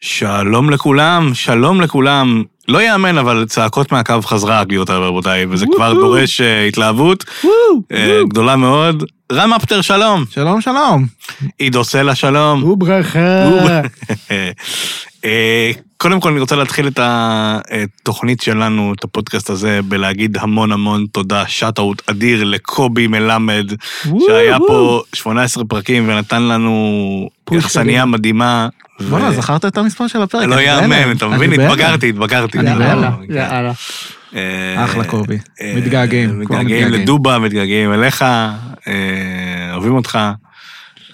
שלום לכולם, שלום לכולם. לא ייאמן, אבל צעקות מהקו חזרה הגיות האלה, רבותיי, וזה כבר דורש אה, התלהבות אה, גדולה מאוד. רם אפטר, שלום. שלום, שלום. עידו סלע, שלום. וברכה. אה, קודם כל, אני רוצה להתחיל את התוכנית שלנו, את הפודקאסט הזה, בלהגיד המון המון תודה, שאט-אוט אדיר לקובי מלמד, שהיה פה 18 פרקים ונתן לנו פוש יחסניה קדימה. מדהימה. ו- בואנה, זכרת את המספר של הפרק? אה, לא אני יאמן, בהלם. אתה מבין? אני בהלם. התבגרתי, התבגרתי. אני זה לא- בהלם. כן. יאללה. אה, אחלה קובי. אה, מתגעגעים, כבר מתגעגעים מתגעגעים. לדובה, מתגעגעים אליך, אה, אוהבים אותך,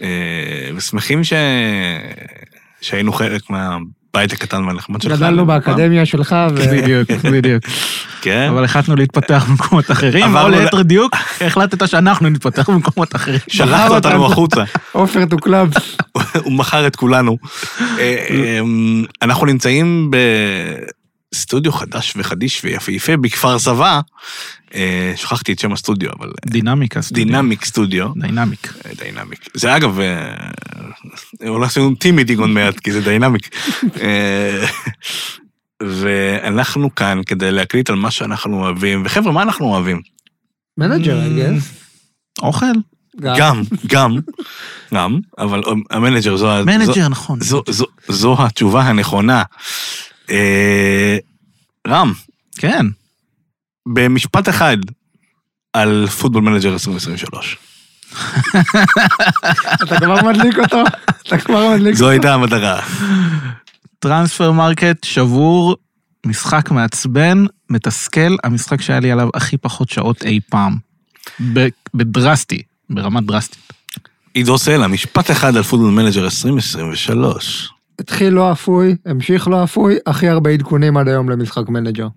אה, ושמחים ש- שהיינו חלק מהבית הקטן והנחמד שלך. אה. גדלנו באקדמיה שלך, ו- בדיוק, בדיוק. כן. אבל החלטנו להתפתח במקומות אחרים, או עברנו ל- ליתר דיוק, החלטת שאנחנו נתפתח במקומות אחרים. שלחת אותנו החוצה, עופר דוקלב. הוא מכר את כולנו. אה, אה, אנחנו נמצאים בסטודיו חדש וחדיש ויפהפה בכפר סבא, אה, שכחתי את שם הסטודיו, אבל דינמיקה. דינמיק סטודיו. דינמיק. דיינמיק. זה אגב, אה, אולי עשינו טימידינג עוד מעט, כי זה דיינמיק. אה, ואנחנו כאן כדי להקליט על מה שאנחנו אוהבים, וחבר'ה, מה אנחנו אוהבים? מנג'ר, I guess. אוכל? אה? גם, גם, גם, אבל אה, המנג'ר זו... ה- זו- מנג'ר, נכון. זו, זו, זו התשובה הנכונה. אה, רם, כן. במשפט אחד על פוטבול מנג'ר 2023. אתה כבר מדליק אותו? אתה כבר מדליק זו הייתה המטרה. טרנספר מרקט שבור, משחק מעצבן, מתסכל, המשחק שהיה לי עליו הכי פחות שעות אי פעם. ב- בדרסטי, ברמה דרסטית. עידו סלע, משפט אחד על פוטבול מנג'ר 2023. התחיל לא אפוי, המשיך לא אפוי, הכי הרבה עדכונים עד היום למשחק מנג'ר.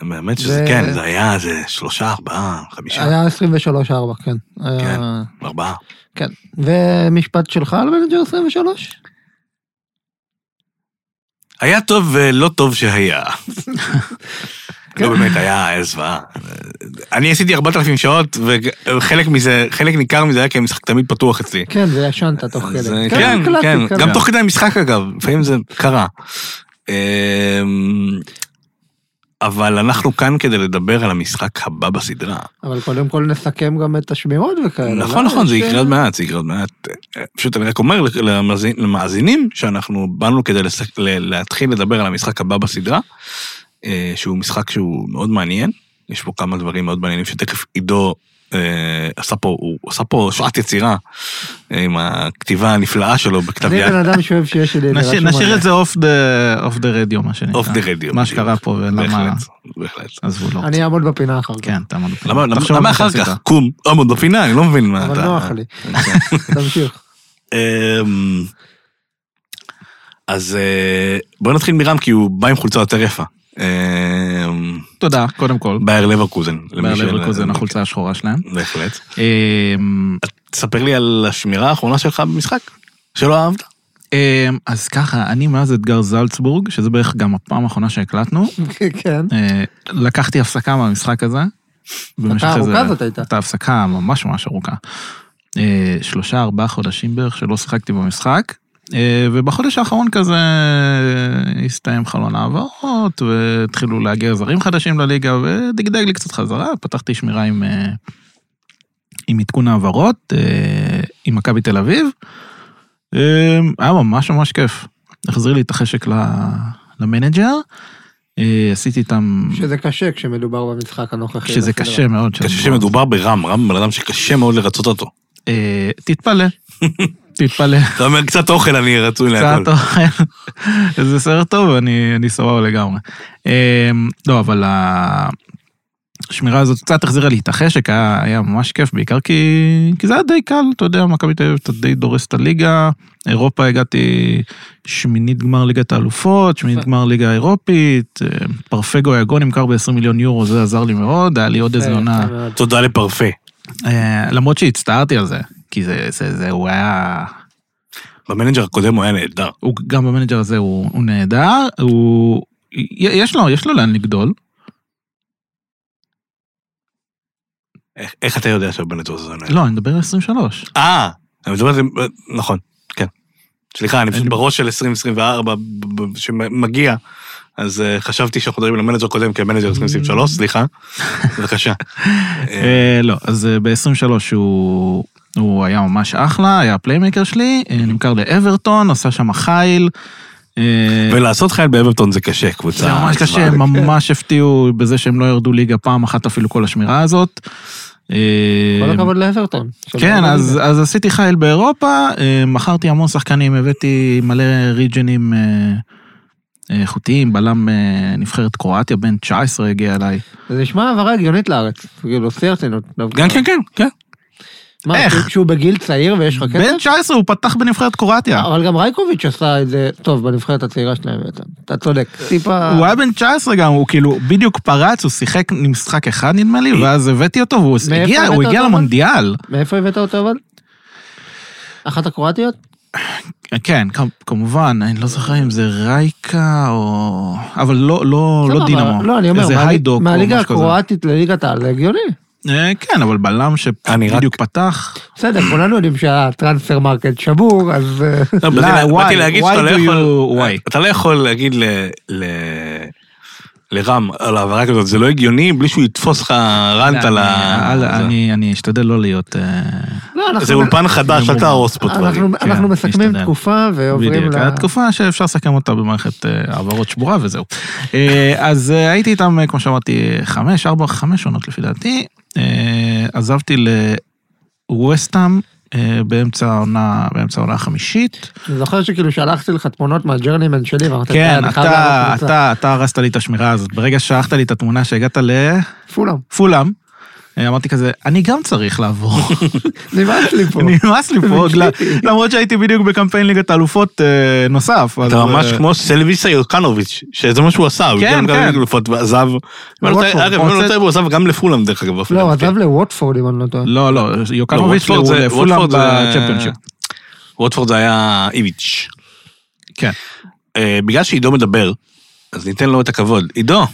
האמת שזה זה- כן, זה היה זה שלושה, ארבעה, חמישה, היה 23-4, כן. כן. היה- ארבעה. כן. ומשפט שלך על מנג'ר 23? היה טוב ולא טוב שהיה. לא באמת, היה היה זוועה. אני עשיתי 4,000 שעות, וחלק מזה, חלק ניכר מזה היה כי המשחק תמיד פתוח אצלי. כן, וישנת תוך אז, כדי. אה, כן, קלטתי, כן, קלטתי. גם תוך כדי המשחק אגב, לפעמים זה קרה. אמ, אבל אנחנו כאן כדי לדבר על המשחק הבא בסדרה. אבל קודם כל נסכם גם את השמירות כן, וכאלה. נכון, לא? נכון, זה יש, יקרה אה, עוד מעט, זה יקרה עוד מעט. אה, פשוט אני רק אומר למאזין- למאזינים שאנחנו באנו כדי לס- ל- להתחיל לדבר על המשחק הבא בסדרה, אה, שהוא משחק שהוא מאוד מעניין, יש פה כמה דברים מאוד מעניינים שתכף עידו אה, עשה פה, הוא עשה פה שעת יצירה אה, עם הכתיבה הנפלאה שלו בכתב אני יד. בן אדם שאוהב שיש לי... נשאיר- נשאיר את זה אוף דה אוף דה רדיו, מה שנקרא. אוף דה רדיו. מה שקרה פה ולמה... בהחלט, בהחלט. עזבו לא. אני אעמוד בפינה אחר כך. כן, תעמוד. למה- למה תחשוב למה מה אחר שעשית. כך? קום, עמוד בפינה, אני לא מבין מה אתה... כן. אבל נוח לי. תמשיך. אמ, אז אה, בוא נתחיל מרם כי הוא בא עם חולצה יותר יפה. אמ, תודה, קודם כל. באייר לברקוזן. למי באר של- אוקיי. לברקוזן, החולצה השחורה שלהם. בהחלט. אמ, ספר לי על השמירה האחרונה שלך במשחק, שלא אהבת. אמ, אז ככה, אני מאז אתגר זלצבורג, שזה בערך גם הפעם האחרונה שהקלטנו, כן. אה, לקחתי הפסקה מהמשחק הזה. במשך ארוכה איזה- זאת הייתה. הייתה הפסקה ממש ממש ארוכה. אה, שלושה ארבעה חודשים בערך שלא שיחקתי במשחק. אה, ובחודש האחרון כזה אה, הסתיים חלון העברות והתחילו להגיע זרים חדשים לליגה ודגדג לי קצת חזרה, פתחתי שמירה עם, אה, עם עדכון העברות, אה, עם מכבי תל אביב. אה, היה ממש ממש כיף. החזיר לי את החשק ל- למנג'ר, אה, עשיתי איתם, שזה קשה כשמדובר במשחק הנוכחי. שזה בסדר. קשה מאוד. קשה שמדובר ברם, רם בן אדם שקשה מאוד לרצות אותו. אה, תתפלא, תתפלא, אתה אומר קצת אוכל אני רצוי להכל. קצת אוכל, זה סרט טוב, אני אני סבבה לגמרי. אה, לא, אבל השמירה הזאת קצת החזירה לי את החשק, היה היה ממש כיף, בעיקר כי כי זה היה די קל, אתה יודע, מכבי תל אביב, אתה די דורס את הליגה, אירופה הגעתי שמינית גמר ליגת האלופות, שמינית גמר ליגה האירופית, אה, פרפגו היגון נמכר ב-20 מיליון יורו, זה עזר לי מאוד, היה לי עוד איזה יפה עונה. מאוד. תודה לפרפה. אה, למרות שהצטערתי על זה, כי זה, זה, זה, הוא היה... במנג'ר הקודם הוא היה נהדר. הוא גם במנג'ר הזה הוא, הוא נהדר, הוא... י- יש לו, יש לו לאן לגדול. איך- איך אתה יודע שהבנג'ר זה נהדר? לא, אני מדבר על 23. אה, אני מדבר על זה, נכון, כן. סליחה, אני פשוט אין לי- בראש של 2024 ב- ב- שמגיע, אז אה, חשבתי שאנחנו מדברים על המנג'ר הקודם, כי המנג'ר Mm. 2023, סליחה. בבקשה. אה, אה, לא, אז ב-23 הוא... הוא היה ממש אחלה, היה הפליימקר שלי, אה, נמכר לאברטון, עשה שם חיל. אה, ולעשות חייל באברטון זה קשה, קבוצה. זה ממש קשה, עצמה. הם ממש הפתיעו בזה שהם לא ירדו ליגה פעם אחת אפילו כל השמירה הזאת. אה, כל הכבוד לאברטון. כן, אז, אז עשיתי חייל באירופה, אה, מכרתי המון שחקנים, הבאתי מלא ריג'נים אה, אה, איכותיים, בלם אה, נבחרת קרואטיה, בן 19 הגיע אליי. זה נשמע העברה הגיונית לארץ. כאילו, שיא הרצינות. דווקא. כן, כן, כן, כן. מה, איך? כשהוא- כשהוא בגיל צעיר ויש לך כסף? בן 19 הוא פתח בנבחרת קרואטיה. אבל גם רייקוביץ' עשה את זה טוב בנבחרת הצעירה שלהם בעצם. אתה צודק. טיפה... הוא היה בן 19 גם, הוא כאילו בדיוק פרץ, הוא שיחק משחק אחד נדמה אה. לי, ואז הבאתי אותו והוא מאיפה הגיע, הבאת הוא הגיע אותו, אבל? למונדיאל. מאיפה הבאת אותו אבל? אחת הקרואטיות? כן, כ- כמובן, אני לא זוכר אם זה רייקה או... אבל לא, לא, סבבה, לא דינמו. לא, אני אומר, איזה מהליג- היידוק או מהליגה משהו כזה. הקרואטית לליגת העל, זה הגיוני. אה, כן, אבל בלם אני רק- שבדיוק פתח. בסדר, כולנו יודעים שהטרנספר מרקט שבור, אז... אה, לא, באתי לא, לה- why? באתי להגיד שאתה Why לא do יכול... you- why? אתה לא יכול להגיד ל... ל- לרם על העברה כזאת, זה לא הגיוני בלי שהוא יתפוס לך ראנט על ה... על- זה- לא, אני אני אשתדל לא להיות... אה, לא, אנחנו- זה אולפן חדש, אל אנחנו- תהרוס פה דברים. אנחנו- כן, אנחנו מסכמים נשתדל. תקופה ועוברים בדיוק, ל... ל... התקופה שאפשר לסכם אותה במערכת אה, העברות שבורה וזהו. אה, אז אה, הייתי איתם, אה, כמו שאמרתי, חמש, ארבע, חמש עונות לפי דעתי. אה, עזבתי לווסטאם אה, באמצע העונה, באמצע העונה החמישית. אני זוכר שכאילו שלחתי לך תמונות מהג'רנימן שלי, ואמרת, כן, אני חייב אתה, לעבור קבוצה." אתה, אתה הרסת לי את השמירה הזאת. ברגע ששלחת לי את התמונה שהגעת פולם, לפולאם, אה, אמרתי כזה, אני גם צריך לעבור. נמאס לי פה. נמאס לי פה, גל- למרות שהייתי בדיוק בקמפיין ליגת האלופות אה, נוסף. אז, אתה ממש אה, כמו סלוויסה יוקנוביץ', שזה מה שהוא עשה, הוא כן, הגיע כן. גם לגלופות ועזב. לווטפורד, אגב, אם רוצה- אני לא טועה, הוא עזב גם לפולאם דרך אגב. לא, הוא אפילו. עזב לווטפורד אם אני לא טועה. לא, לא, לא, יוקנוביץ' ווטפורד הוא זה- לפולאם ווטפורד זה- בצ'מפיונשיפ. ווטפורד זה היה איביץ'. כן. אה, בגלל שעידו מדבר, אז ניתן לו את הכבוד. עידו,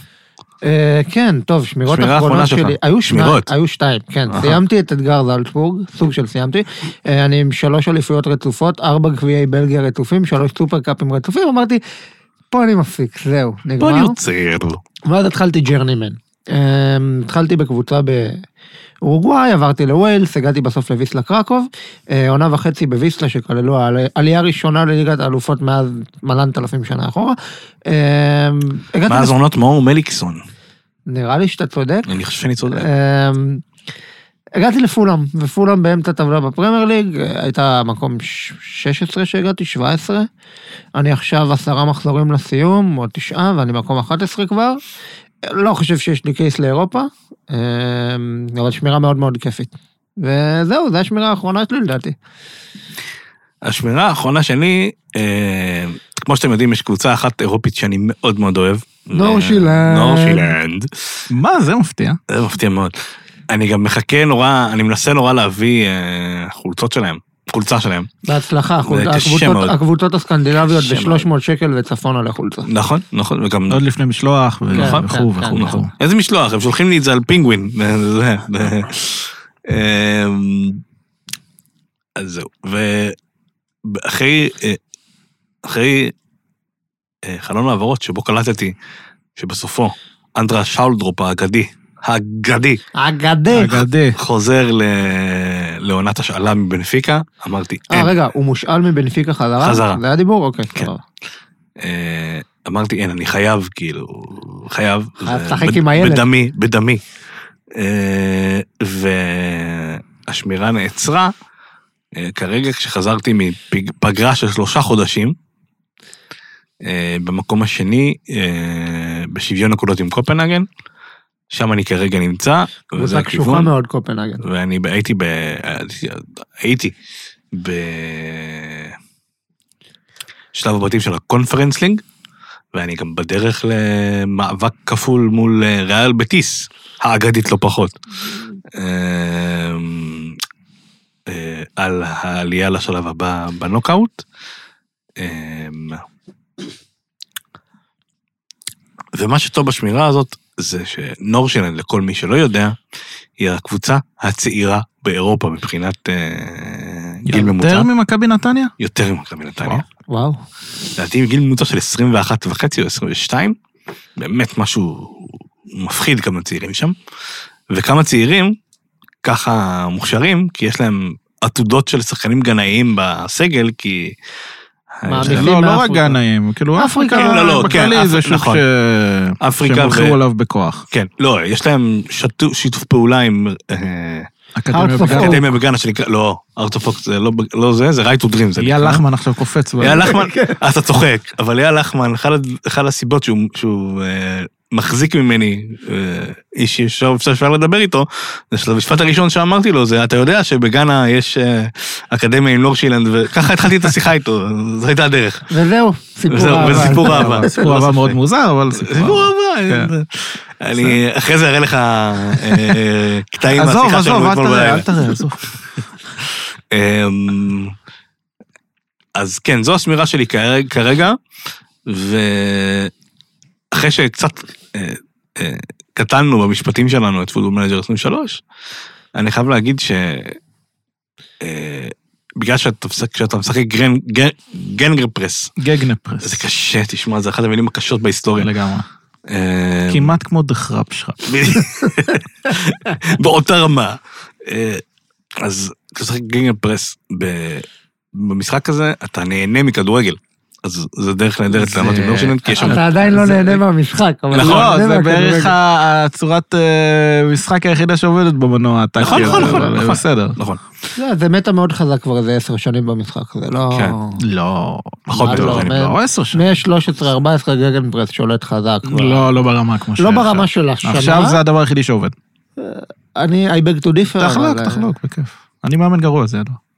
אה, כן, טוב, שמירות שמירה אחרונה אחרונות שלך. שלי. היו שניים, שמירות. היו שתיים, כן. אהה. סיימתי את אתגר זלצבורג, סוג של סיימתי. אה, אני עם שלוש אליפויות רצופות, ארבע גביעי בלגיה רצופים, שלוש סופר קאפים רצופים, אמרתי, פה אני מפסיק, זהו, בוא נגמר. נרצה. ואז התחלתי ג'רנימן. אה, התחלתי בקבוצה באורוגוואי, עברתי לווילס, הגעתי בסוף לוויסלה קרקוב, אה, עונה וחצי בוויסלה שכללו העלי- עלייה ראשונה לליגת האלופות מאז מלנת אלפים שנה אחורה. אה, הגעתי מאז לס- עונות מאור מליקסון. נראה לי שאתה צודק. אני חושב שאני צודק. אמ, הגעתי לפולאם, ופולאם באמצע טבלה בפרמייר ליג, אה, הייתה מקום ש- 16 שהגעתי, 17. אני עכשיו עשרה מחזורים לסיום, או תשעה, ואני מקום 11 כבר. אה, לא חושב שיש לי קייס לאירופה, אמ, אבל שמירה מאוד מאוד כיפית. וזהו, זו השמירה האחרונה שלי לדעתי. השמירה האחרונה שלי, אה, כמו שאתם יודעים, יש קבוצה אחת אירופית שאני מאוד מאוד אוהב. אה, נורשילנד. נורשילנד. מה, זה מפתיע. זה מפתיע מאוד. אני גם מחכה נורא, אני מנסה נורא להביא אה, חולצות שלהם, חולצה שלהם. בהצלחה, החול- קשה מאוד. הקבוצות, הקבוצות הסקנדינביות קשה ב-300 שקל וצפונה לחולצה. נכון, נכון, וגם... נכון, עוד לפני משלוח ו- כן, וכו' כן, וכו' כן, וכו'. איזה משלוח, הם שולחים לי את זה על פינגווין. זה- זה- אמ, אז זהו, ואחרי אה, אחרי אה, חלון העברות שבו קלטתי שבסופו אנדרה שאולדרופ האגדי, האגדי, אגדה. אגדי. חוזר ל- לעונת השאלה מבנפיקה, אמרתי אה, אין, רגע, הוא מושאל מבנפיקה חזרה? חזרה. זה היה דיבור? אוקיי, כן. סבבה. אה, אמרתי אין, אני חייב, כאילו, חייב. חייב זה לשחק בד- אה, עם הילד. בדמי, בדמי. אה, והשמירה נעצרה, אה, כרגע כשחזרתי מפגרה של שלושה חודשים, אה, במקום השני, אה, בשוויון נקודות עם קופנהגן, שם אני כרגע נמצא, וזה קבוצה קשוחה הכיוון, מאוד קופנהגן. ואני ב- הייתי ב... הייתי ב... שלב הבתים של הקונפרנס לינג, ואני גם בדרך למאבק כפול מול אה, ריאל בטיס, האגדית לא פחות. אמ, אה, על העלייה לשלב הבא בנוקאוט. אמ, ומה שטוב בשמירה הזאת זה שנורשילנד, לכל מי שלא יודע, היא הקבוצה הצעירה באירופה מבחינת אה, גיל ממוצע. יותר ממכבי נתניה? יותר ממכבי נתניה. וואו. וואו. לדעתי גיל ממוצע של 21 וחצי או 22, באמת משהו מפחיד כמה צעירים שם, וכמה צעירים ככה מוכשרים, כי יש להם עתודות של שחקנים גנאיים בסגל, כי... מעמידים. לא, לא רק מאפריקה. גנאים, כאילו אפריקה, אפריקה, לא, לא, כן, בכללי זה אפ- שוק נכון. ש- אפריקה שהם הולכים ו- עליו בכוח. כן, לא, יש להם שטו- שיתוף פעולה עם... אה, אקדמיה Hearts of בגן. Oak. אקדמיה בגאנה שנקרא, לא, ארט אוף זה לא, לא זה, זה right to dream. זה אייל נקרא. לחמן עכשיו קופץ. ב- אייל לחמן, אה, אתה צוחק, אבל אייל לחמן, אחד הד- אחת הסיבות שהוא- שהוא אה, מחזיק ממני, אה, איש ישר אפשר לדבר איתו, זה שבמשפט הראשון שאמרתי לו זה, אתה יודע שבגאנה יש אה, אקדמיה עם לורשילנד, וככה התחלתי את השיחה איתו, זו הייתה הדרך. וזהו, סיפור וזהו, אהבה. וסיפור אהבה. כן, לא סיפור אהבה מאוד מוזר, אבל סיפור סיפור אהבה. אהבה. אני אחרי זה אראה לך אה, קטעים עזוב, מהשיחה עזוב, שלנו אל אתמול תראה, בלילה. אל תראה, עזוב. אמ, אז כן, זו השמירה שלי כרגע- כרגע, ואחרי שקצת אה, אה, קטלנו במשפטים שלנו את פודו מנג'ר 23, אני חייב להגיד ש... אה, בגלל שאתה משחק- כשאתה משחק גרן- גר- גנגר פרס, גגנפרס. זה קשה, תשמע, זה אחת המילים הקשות בהיסטוריה. לגמרי. אה, כן. כמעט כמו דחרפ שלך. באותה רמה. אה, אז כשאתה משחק גינגל פרס ב- במשחק הזה, אתה נהנה מכדורגל. אז זה דרך נהדרת זה- לעלות עם לורשינן, כי יש שם... אתה עדיין לא זה- נהנה מהמשחק. אבל נכון, אתה לא, זה נהנה מהכדורגל. בערך ה- הצורת אה, משחק היחידה שעובדת במנוע הטקטי. נכון, נכון, הזה, נכון, כאילו, אבל נכון. בסדר. נכון, לא, זה מטה מאוד חזק כבר איזה עשר שנים במשחק, זה לא... כן. לא. פחות מה לא, בטוח. אתה אני- אומר? לא, עשר שנים. מ-13-14 גגנברס שולט חזק. כבר. לא, לא ברמה כמו לא שהיה ברמה עכשיו. של השנה. עכשיו זה הדבר היחידי שעובד. אני, I beg to differ. תחלוק, אבל- אה, תחלוק, בכיף. אני מאמן גרוע, זה ידוע.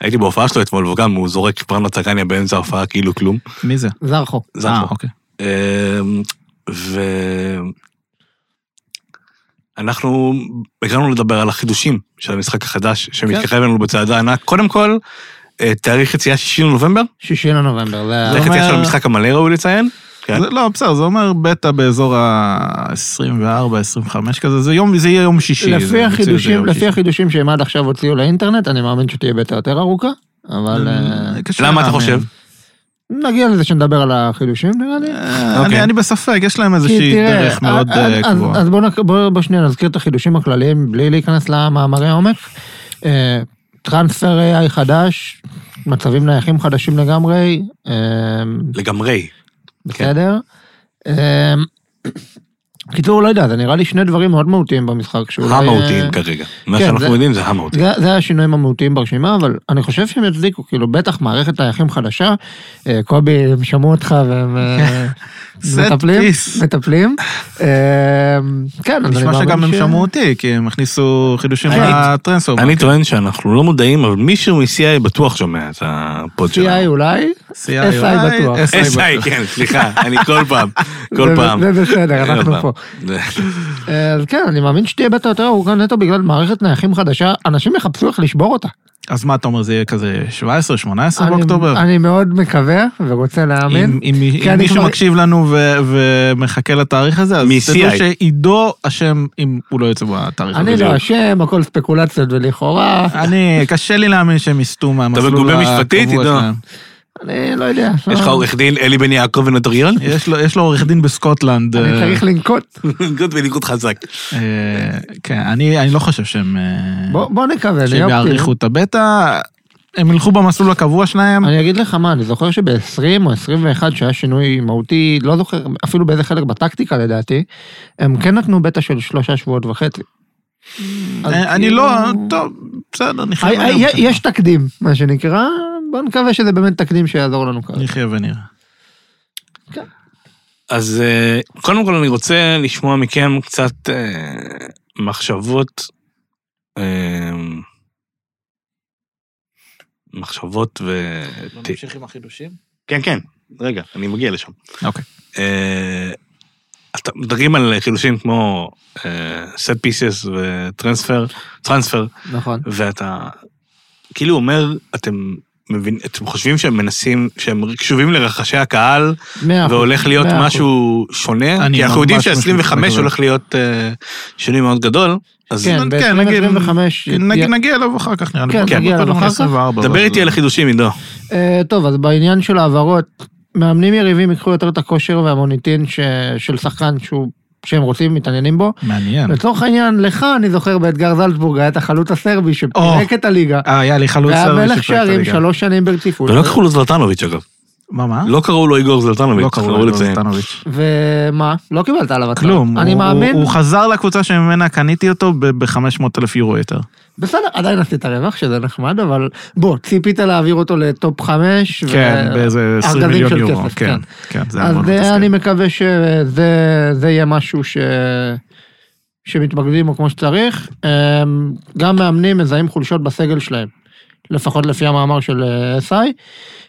הייתי בהופעה שלו אתמול, וגם הוא זורק פרנה צגניה באמצע ההופעה כאילו כלום. מי זה? זרחו. זה אה, אחלה. אוקיי. אמ, ו... אנחנו הגענו לדבר על החידושים של המשחק החדש שמתקרב לנו בצעדה ענק. קודם כל, אה, תאריך יציאה 6 לנובמבר, שישי לנובמבר, זה תאריך ה- יציאה של אומר- המשחק המלא ראוי לציין. כן. זה, לא, בסדר, זה אומר בטא באזור ה-24-25 כזה, זה יום, זה יהיה יום שישי. זה- לפי יוציאו את זה החידושים, יום לפי שישי. החידושים שהם עד עכשיו הוציאו לאינטרנט, אני מאמין שתהיה ביתה יותר ארוכה, אבל אה, אה, קשה למה אתה להאמין. חושב? נגיע לזה שנדבר על החידושים נראה לי. אה, אוקיי. אני- אני בספק, יש להם כי איזושהי תראה, דרך מאוד אז- אה, אז- קבועה. אז בואו נק- בואו- בואו שנייה נזכיר את החידושים הכלליים בלי להיכנס למאמרי עומק. אה, טרנספר AI חדש, מצבים נייחים חדשים לגמרי, אה, לגמרי. בסדר? כן. אה, קיצור, לא יודע, זה נראה לי שני דברים מאוד מהותיים במשחק. שאולי, המהותיים אה, כרגע. מה כן, שאנחנו זה- יודעים זה המהותיים. זה, זה השינויים המהותיים ברשימה, אבל אני חושב שהם יצדיקו, כאילו בטח מערכת נייחים חדשה, אה, קובי, הם שמעו אותך והם אה, Set מטפלים, piece. מטפלים. אה, כן, אז אני נשמע מאמין שגם הם ש- שמעו אותי, כי הם הכניסו חידושים אני- לטרנספורמר. אוקיי. אני טוען שאנחנו לא מודעים, אבל מישהו מ-CI בטוח שומע את הפוד CI שלנו. אולי? SI בטוח. SI, כן, סליחה, אני כל פעם, כל זה- פעם. זה בסדר, אנחנו כל פעם. פה. אה, אז כן, אני מאמין שתהיה בטח יותר ארוכה נטו בגלל מערכת נייחים חדשה, אנשים יחפשו איך לשבור אותה. אז מה אתה אומר, זה יהיה כזה 17-18 אני- באוקטובר? אני מאוד מקווה ורוצה אם להאמין. אם- כי אם אני מישהו כבר- מקשיב לנו ו- ומחכה לתאריך הזה, אז מ-CI. תדעו שעידו אשם אם הוא לא יוצא בתאריך הזה. אני לא אשם, הכל ספקולציות ולכאורה, אני, קשה לי להאמין שהם יסטו מהמסלול אתה הקבוע מגובה משפטית, עידו? שלהם. אני לא יודע. יש לך לא- עורך דין אלי בן יעקב ונוטריון? יש לו- יש לו עורך דין בסקוטלנד. אני אה, צריך לנקוט. גוד בניגוד חזק. אה, כן, אני אני לא חושב שהם... אה, בוא בוא נקווה, שהם נהיה אופטימי. יעריכו את הבטא. הם ילכו במסלול הקבוע שלהם. אני אגיד לך מה, אני זוכר שב-20 או 21 שהיה שינוי מהותי, לא זוכר אפילו באיזה חלק בטקטיקה לדעתי, הם כן נתנו בטא של שלושה שבועות וחצי. אז אה, אני כאילו- לא... טוב, בסדר, נחיה אה, אה, ונראה. בסדר. יש תקדים, מה שנקרא, בוא נקווה שזה באמת תקדים שיעזור לנו כרגע. נחיה ונראה. אז אה, קודם כל אני רוצה לשמוע מכם קצת אה, מחשבות אה, מחשבות ו... ת- עם החידושים? לא כן, כן, רגע, אני מגיע לשם. אוקיי. אה, אתה- מדברים על חילושים כמו אה, set pieces וטרנספר, טרנספר, נכון. ואתה כאילו אומר, אתם מבין, אתם חושבים שהם מנסים, שהם קשובים לרחשי הקהל, מאה אחוז. והולך להיות מאה אחוז. משהו שונה, אני כי אנחנו ממש יודעים ממש ש-25 מקווה. הולך להיות אה, שינוי מאוד גדול, אז כן, כן, נגיד- ב-2025. נג- נגיע אליו אחר כך נראה לי. כן, בוא- נגיע בוא אליו קודם אחר כך. 24, דבר אבל- איתי על החידושים, עידו. אה, טוב, אז בעניין של העברות, מאמנים יריבים ייקחו יותר את הכושר והמוניטין ש- של שחקן שהוא... שהם רוצים, מתעניינים בו. מעניין. לצורך העניין, לך אני זוכר באתגר זלצבורג היה את החלוץ הסרבי שפירק את הליגה. אה, היה לי חלוץ והיה סרבי מלך ששיחק את שערים הליגה. לא שלוש שנים ברציפות. ולא קראו לו זלטנוביץ' אגב, מה, אה? מה? לא קראו לו איגור זלטנוביץ', לא קראו חשוב לו לציין. זלטנוביץ'. ומה? לא קיבלת עליו הצעה. כלום. אני הוא- מאמין. הוא הוא חזר לקבוצה שממנה קניתי אותו ב-500 אלף יורו יותר. בסדר, עדיין עשית רווח, שזה נחמד, אבל בוא, ציפית להעביר אותו לטופ חמש. ו- כן, באיזה 20 ארגזים מיליון של יורו. כסף, כן, כן, זה היה אז מאוד אה, מתסכל. אני מקווה שזה זה יהיה משהו ש... שמתמקדים בו כמו שצריך. אמ, גם מאמנים מזהים חולשות בסגל שלהם, לפחות לפי המאמר של אה, SI.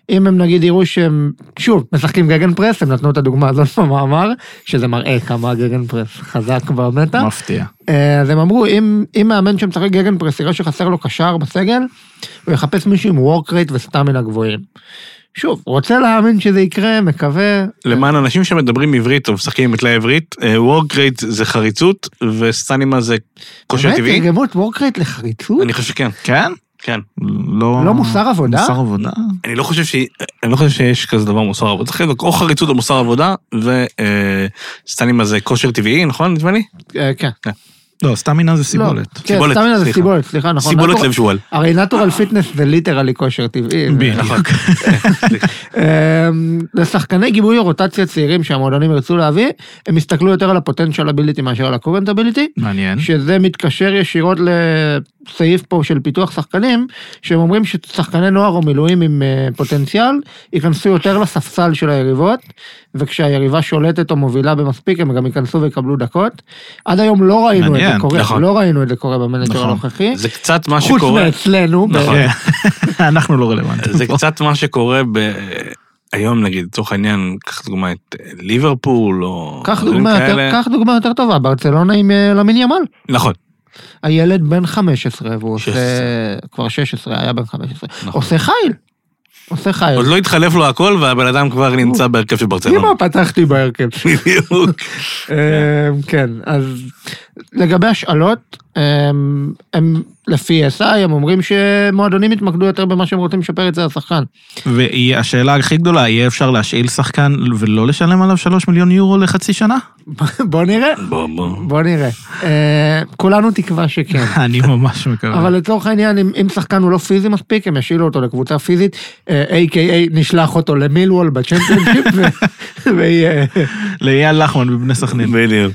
אם הם נגיד יראו שהם, שוב, משחקים גגן פרס, הם נתנו את הדוגמה הזאת במאמר, שזה מראה כמה הגגן פרס חזק במטה. מפתיע. אה, אז הם אמרו, אם, אם מאמן שמשחק גגן פרס יראה שחסר לו קשר בסגל, הוא יחפש מישהו עם וורק רייט וסטמינה גבוהים. שוב, רוצה להאמין שזה יקרה, מקווה. למען אנשים שמדברים עברית או משחקים עם מטלי עברית, וורק רייט זה חריצות וסטנימה זה כושר באמת, טבעי. תרגמו את וורק רייט לחריצות? אני חושב שכן, כן? כן. לא... לא מוסר עבודה? מוסר עבודה? אני לא חושב, ש... אני לא חושב שיש כזה דבר מוסר עבודה. צריך לבדוק או חריצות או מוסר עבודה, וסטנימה זה כושר טבעי, נכון? נדמה לי? אה, כן. לא, סטמינה זה סיבולת. לא, כן, סיבולת, סטמינה זה סליחה. סיבולת, סליחה, נכון. סיבולת נטורל- לב שועל. הרי נטורל פיטנס זה ליטרלי כושר טבעי. ו- נכון. אמ, לשחקני גיבוי הרוטציה צעירים שהמועדונים ירצו להביא, הם יסתכלו יותר על הפוטנציאל אביליטי מאשר על הקורנט אביליטי. כן. מעניין. שזה מתקשר ישירות לסעיף פה של פיתוח שחקנים, שהם אומרים ששחקני נוער או מילואים עם אה, פוטנציאל ייכנסו יותר לספסל של היריבות, וכשהיריבה שולטת או מובילה במספיק הם גם ייכנסו ויקבלו דקות. עד היום לא ראינו את זה מעניין, קורה, נכון. לא ראינו את זה קורה במנג'ר נכון. הנוכחי, זה קצת מה חוץ שקורה, מאצלנו, נכון. ב- כן. אנחנו לא רלוונטיים. זה פה. קצת מה שקורה ב... היום נגיד, לצורך העניין, קח דוגמא את אה, ליברפול או... קח דברים דוגמה יותר- כאלה. קח דוגמה יותר טובה, ברצלונה עם אה, למין ימל. נכון, הילד בן 15 והוא 16. עושה, כבר 16 היה בן 15, נכון. עושה חיל. עושה חיל. עוד לא התחלף לו הכל והבן אדם כבר נמצא בהרכב של ברצלונה. אמא לא פתחתי כן. בהרכב. בדיוק. אמ, כן, אז לגבי השאלות, אמ, הם לפי SI, הם אומרים שמועדונים יתמקדו יותר במה שהם רוצים לשפר אצל השחקן. והשאלה הכי גדולה, יהיה אפשר להשאיל שחקן ולא לשלם עליו 3 מיליון יורו לחצי שנה? בוא נראה, בוא, בוא. בוא נראה. אה, כולנו תקווה שכן. אני ממש מקווה. אבל לצורך העניין, אם, אם שחקן הוא לא פיזי מספיק, הם ישאילו אותו לקבוצה פיזית, אה, A.K.A. נשלח אותו למילוול בצ'מפיונשיפ, ו- ויהיה... לאייל לחמן מבני סכנין. בדיוק.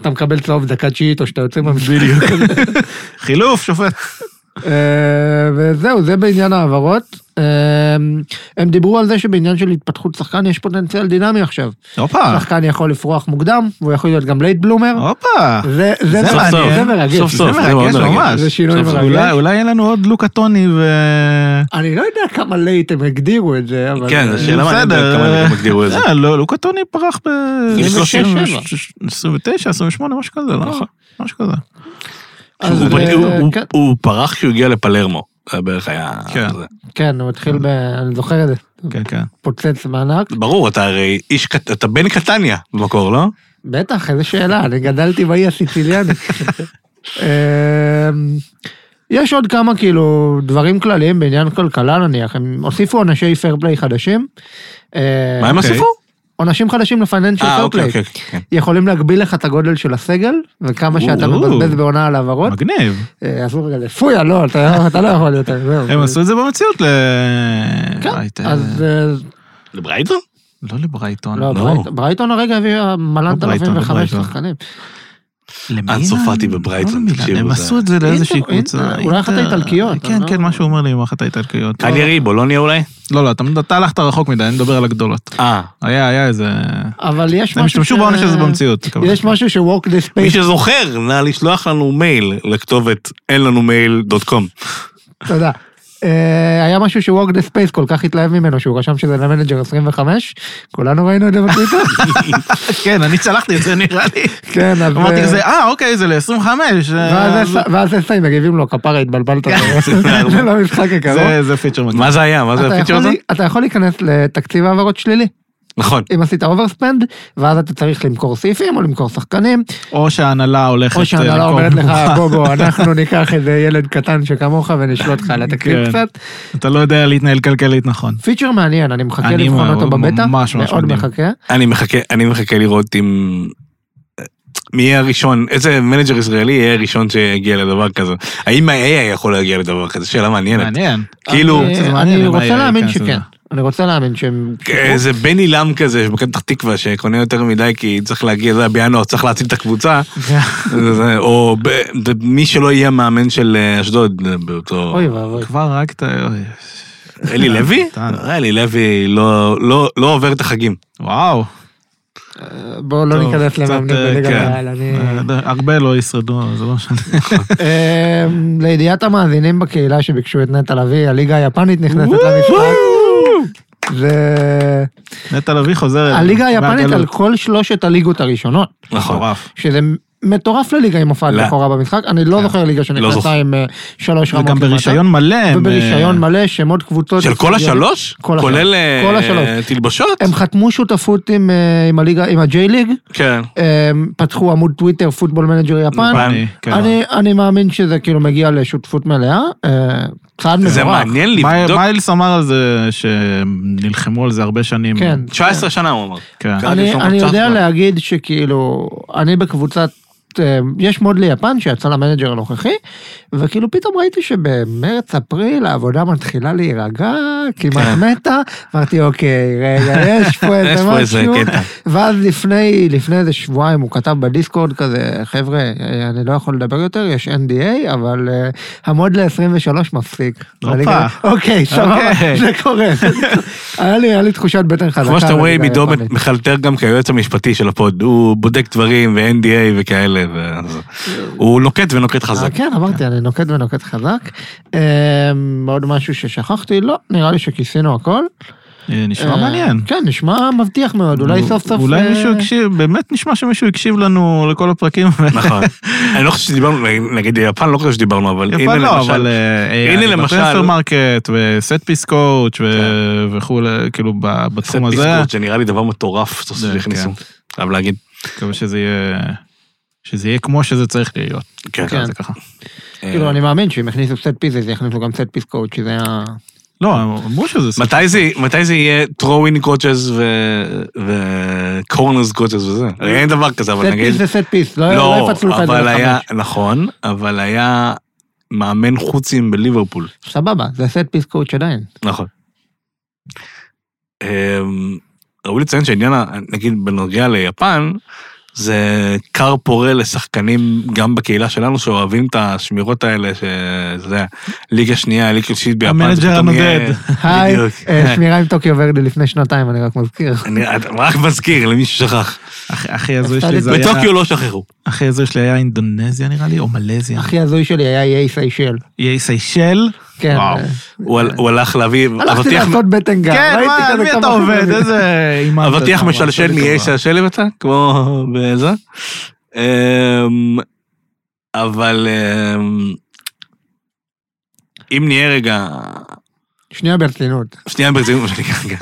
אתה מקבל צהוב דקה תשיעית או שאתה יוצא מהמשחק. חילוף, שופט. אה, וזהו, זה בעניין ההעברות. אה, הם דיברו על זה שבעניין של התפתחות שחקן יש פוטנציאל דינמי עכשיו. הופה, אה. שחקן יכול לפרוח מוקדם, והוא יכול להיות גם לייט בלומר. הופה. זה זה זה מעניין, סוף, זה מרגש. אה. סוף, סוף. זה זה מאוד מרגש מרגש. ממש. זה שינוי סוף סוף. מרגש. אולי- אולי יהיה לנו עוד לוקה טוני ו... אני לא יודע כמה לייט הם הגדירו את זה, אבל... אה, כן, זה שאלה מעניינת בסדר, כמה הם הגדירו את זה. אה, לא, לוקה טוני פרח ב... 26, 29, 28, משהו כזה, לא? נכון. משהו כזה. אז, הוא פר- אה, הוא- הוא- כן- הוא פרח כשהוא הגיע לפלרמו. זה בערך היה... כן. זה. כן, הוא התחיל ב... אני זוכר את זה. כן, כן. פוצץ מענק. ברור, אתה הרי איש קט... אתה בן קטניה במקור, לא? בטח, איזה שאלה, אני גדלתי באי הסיציליאני. אמ, יש עוד כמה כאילו דברים כלליים בעניין כלכלה נניח, הם הוסיפו עונשי פייר פליי חדשים. מה הם אוקיי. הסיפור? עונשים חדשים לפייננשל אה, פייר אוקיי, פליי. אוקיי, אוקיי, כן. יכולים להגביל לך את הגודל של הסגל וכמה שאתה או. מבזבז בעונה על העברות. מגניב. אה, אסור רגע, פויה, לא, אתה אתה לא יכול יותר. זהו. הם עשו את זה במציאות ל... כן, הייתה- אז אה, לברייטון? לא לברייטון. לא, ברייט- ברייטון הרגע הביאה מלנת לא ברייטון, לא 2005 ברייטון. שחקנים. למילאן? צרפתי בברייטון, לא למילאן, תקשיבו, הם זה- עשו את זה לאיזושהי אינטר, קבוצה. אינטר, לא אולי אחת אינטר. האיטלקיות, כן, אבל כן, לא- משהו אומר לי עם אחת האיטלקיות. קליירי, בולוניה אולי? לא, לא, אתה- אתה הלכת רחוק מדי, אני מדבר על הגדולות. אה. היה, היה איזה... אבל יש משהו... הם השתמשו ש- בעונש הזה במציאות. הכוונה. יש משהו שוורק דה מי ספייס, שזוכר, נא לשלוח לנו מייל לכתובת אין לנו מייל דוט קום. תודה. אה, היה משהו שווק דה ספייס כל כך התלהב ממנו שהוא רשם שזה למנג'ר 25 כולנו ראינו את זה בטוויטר כן, אני צלחתי את זה נראה לי. כן אז אמרתי אה, כזה, אה, אוקיי, זה אה, ל-25. ואז אס- ואז אסאי מגיבים לו כפרה התבלבלת זה לא משחק יקרו. כן, זה פיצ'ר מגניב. מה זה היה? מה זה אתה הפיצ'ר יכול הזה? לי- אתה יכול להיכנס לתקציב העברות שלילי נכון. אם עשית אוברספנד ואז אתה צריך למכור סעיפים או למכור שחקנים או שההנהלה הולכת... או שהנהלה למכור אומרת לך בובה. בוא בוא אנחנו ניקח איזה ילד קטן שכמוך ונשלוט לך על התקציב כן. קצת. אתה לא יודע להתנהל כלכלית נכון. פיצ'ר מעניין אני מחכה אני לבחון אותו מאוד- בבטא ממש ממש מאוד מדהים. מחכה. אני מחכה, אני מחכה לראות אם... מי יהיה הראשון, איזה מנג'ר ישראלי יהיה הראשון שיגיע לדבר כזה? האם ה-AI יכול להגיע לדבר כזה? שאלה מעניינת. מעניין. כן. כאילו, אני- זה מעניין אה, אני אם רוצה היה להאמין ייכנס שכן. לזה. אני רוצה להאמין שהם... איזה בני לם כזה שמכבי פתח תקווה שקונה יותר מדי כי צריך להגיע, זה בינואר, צריך להציל את הקבוצה. זה- זה- או ב- זה מי שלא יהיה המאמן של אה, אשדוד אה, באותו... אוי אה, ואבוי. כבר רק את ה... אוי, אלי לוי? קטן. אלי לוי לא לא- לא עובר את החגים. וואו. בואו לא טוב, ניכנס קצת, למאמנים אה, בליגת כן. העל. אני- אה, הרבה לא ישרדו, זה לא משנה. אה, לידיעת המאזינים בקהילה שביקשו את נטע לביא, הליגה היפנית נכנסת למשחק. זה... נטע לביא אה, חוזרת. הליגה היפנית על מהגלות. כל שלושת הליגות הראשונות. נכון. מטורף. שזה מטורף לליגה עם הופעת לא. בכורה במשחק, אני לא זוכר ליגה זוכר. שנכנסה עם אה, שלוש רמות. וגם למטה. ברישיון מלא. הם, וברישיון אה, מלא שמות קבוצות. של כל השלוש? אוקיי. כל השלוש. כולל אה, כל השלוש. תלבשות? הם חתמו שותפות עם, אה, עם הליגה, עם הג'יי ליג, כן. הם פתחו עמוד טוויטר פוטבול מנג'ר יפן. יפן. אני- כן. אני, אני מאמין שזה כאילו מגיע לשותפות מלאה, אה, צעד מבורך. זה מעניין מי- לבדוק. מיילס אמר על זה שהם נלחמו על זה הרבה שנים. כן. 19 שנה הוא אמר. כן. קראתי אני, שהוא אני מוצף יודע מאוד. להגיד שכאילו, אני בקבוצת, אה, יש מוד ליפן שיצא למנג'ר הנוכחי, וכאילו פתאום ראיתי שבמרץ-אפריל העבודה מתחילה להירגע, כמעט מתה, אמרתי אוקיי, רגע, יש פה כן. יש איזה פה איזה משהו. קטע. ואז לפני, לפני איזה שבועיים הוא כתב בדיסקורד כזה, חבר'ה, אה, אני לא יכול לדבר יותר, יש NDA, אבל אה, המוד ל-23 מפסיק. הופה. ואני כזה, אוקיי, סבבה, אוקיי. זה קורה. היה לי היה לי תחושת בטן חזקה. לא כמו שאתם רואים, בליגה עידו היפנית. מחלטר גם כיועץ המשפטי של הפוד, הוא בודק דברים ו-NDA וכאלה, ואז הוא נוקט ונוקט אה, חזק. כן, אמרתי, אני נוקט ונוקט חזק. אמ, עוד משהו ששכחתי, לא, נראה לי שכיסינו הכל. אה, נשמע אה, מעניין. כן, נשמע מבטיח מאוד, אולי סוף סוף... אולי אה, מישהו הקשיב, באמת נשמע שמישהו הקשיב לנו לכל הפרקים. נכון. אני לא חושב שדיברנו, נגיד יפן לא חושב שדיברנו, אבל הנה יפה לא, אבל... למשל, אה, הנה AI למשל- בטרנספר מרקט וסט פיס קואוץ' וכולי, כאילו ב- כן. סט בתחום הזה. דיסקורד שנראה לי דבר מטורף סוף סוף זה, הכניסו, כן. חייב להגיד. מקווה שזה יהיה... שזה יהיה כמו שזה צריך להיות. כן. נקרא לזה ככה. אה, כאילו, אני מאמין שאם הכניסו סט פיס, אז יכניסו גם סט פיס קוד, שזה היה... לא, אמרו שזה... סט- מתי זה- מתי זה יהיה throw-in coaches ו-corners coaches וזה? הרי אין דבר כזה, אבל סט נגיד... פיס זה סט פיס, לא לא לא, יפצלו לך את זה אבל היה, לחמש. נכון, אבל היה מאמן חוצים בליברפול. סבבה, זה סט פיס קוד עדיין. נכון. אמ, ראוי לציין שהעניין, ה- נגיד בנוגע ליפן, זה כר פורה לשחקנים גם בקהילה שלנו שאוהבים את השמירות האלה, שזה ליגה שנייה, ליגה שלישית ביפן. זה המנג'ר פתאום יהיה- הנודד. היי, בדיוק. אה, שמירה עם טוקיו ורדי לפני שנתיים, אני רק מזכיר. אני רק מזכיר למי ששכח. הכי- הכי הזוי שלי זה היה... בטוקיו לא שכחו. הכי הזוי שלי היה אינדונזיה נראה לי, או מלזיה. הכי הזוי שלי היה איי סיישל. איי סיישל. כן. וואו. אה, הוא הל- הוא הלך להביא הלכתי אבטיח לעשות בטן גב. כן, ראיתי מה, על כזה מי כמה אתה חבר'ה עובד? מזה. איזה... אימה אתה, אבטיח אתה ממש, משלשל עושה לי מאי טובה. שהשלם אתה? כמו בזה? אמ, אבל אמ, אם נהיה רגע, שנייה ברצינות. שנייה ברצינות, מה שנקרא, רגע.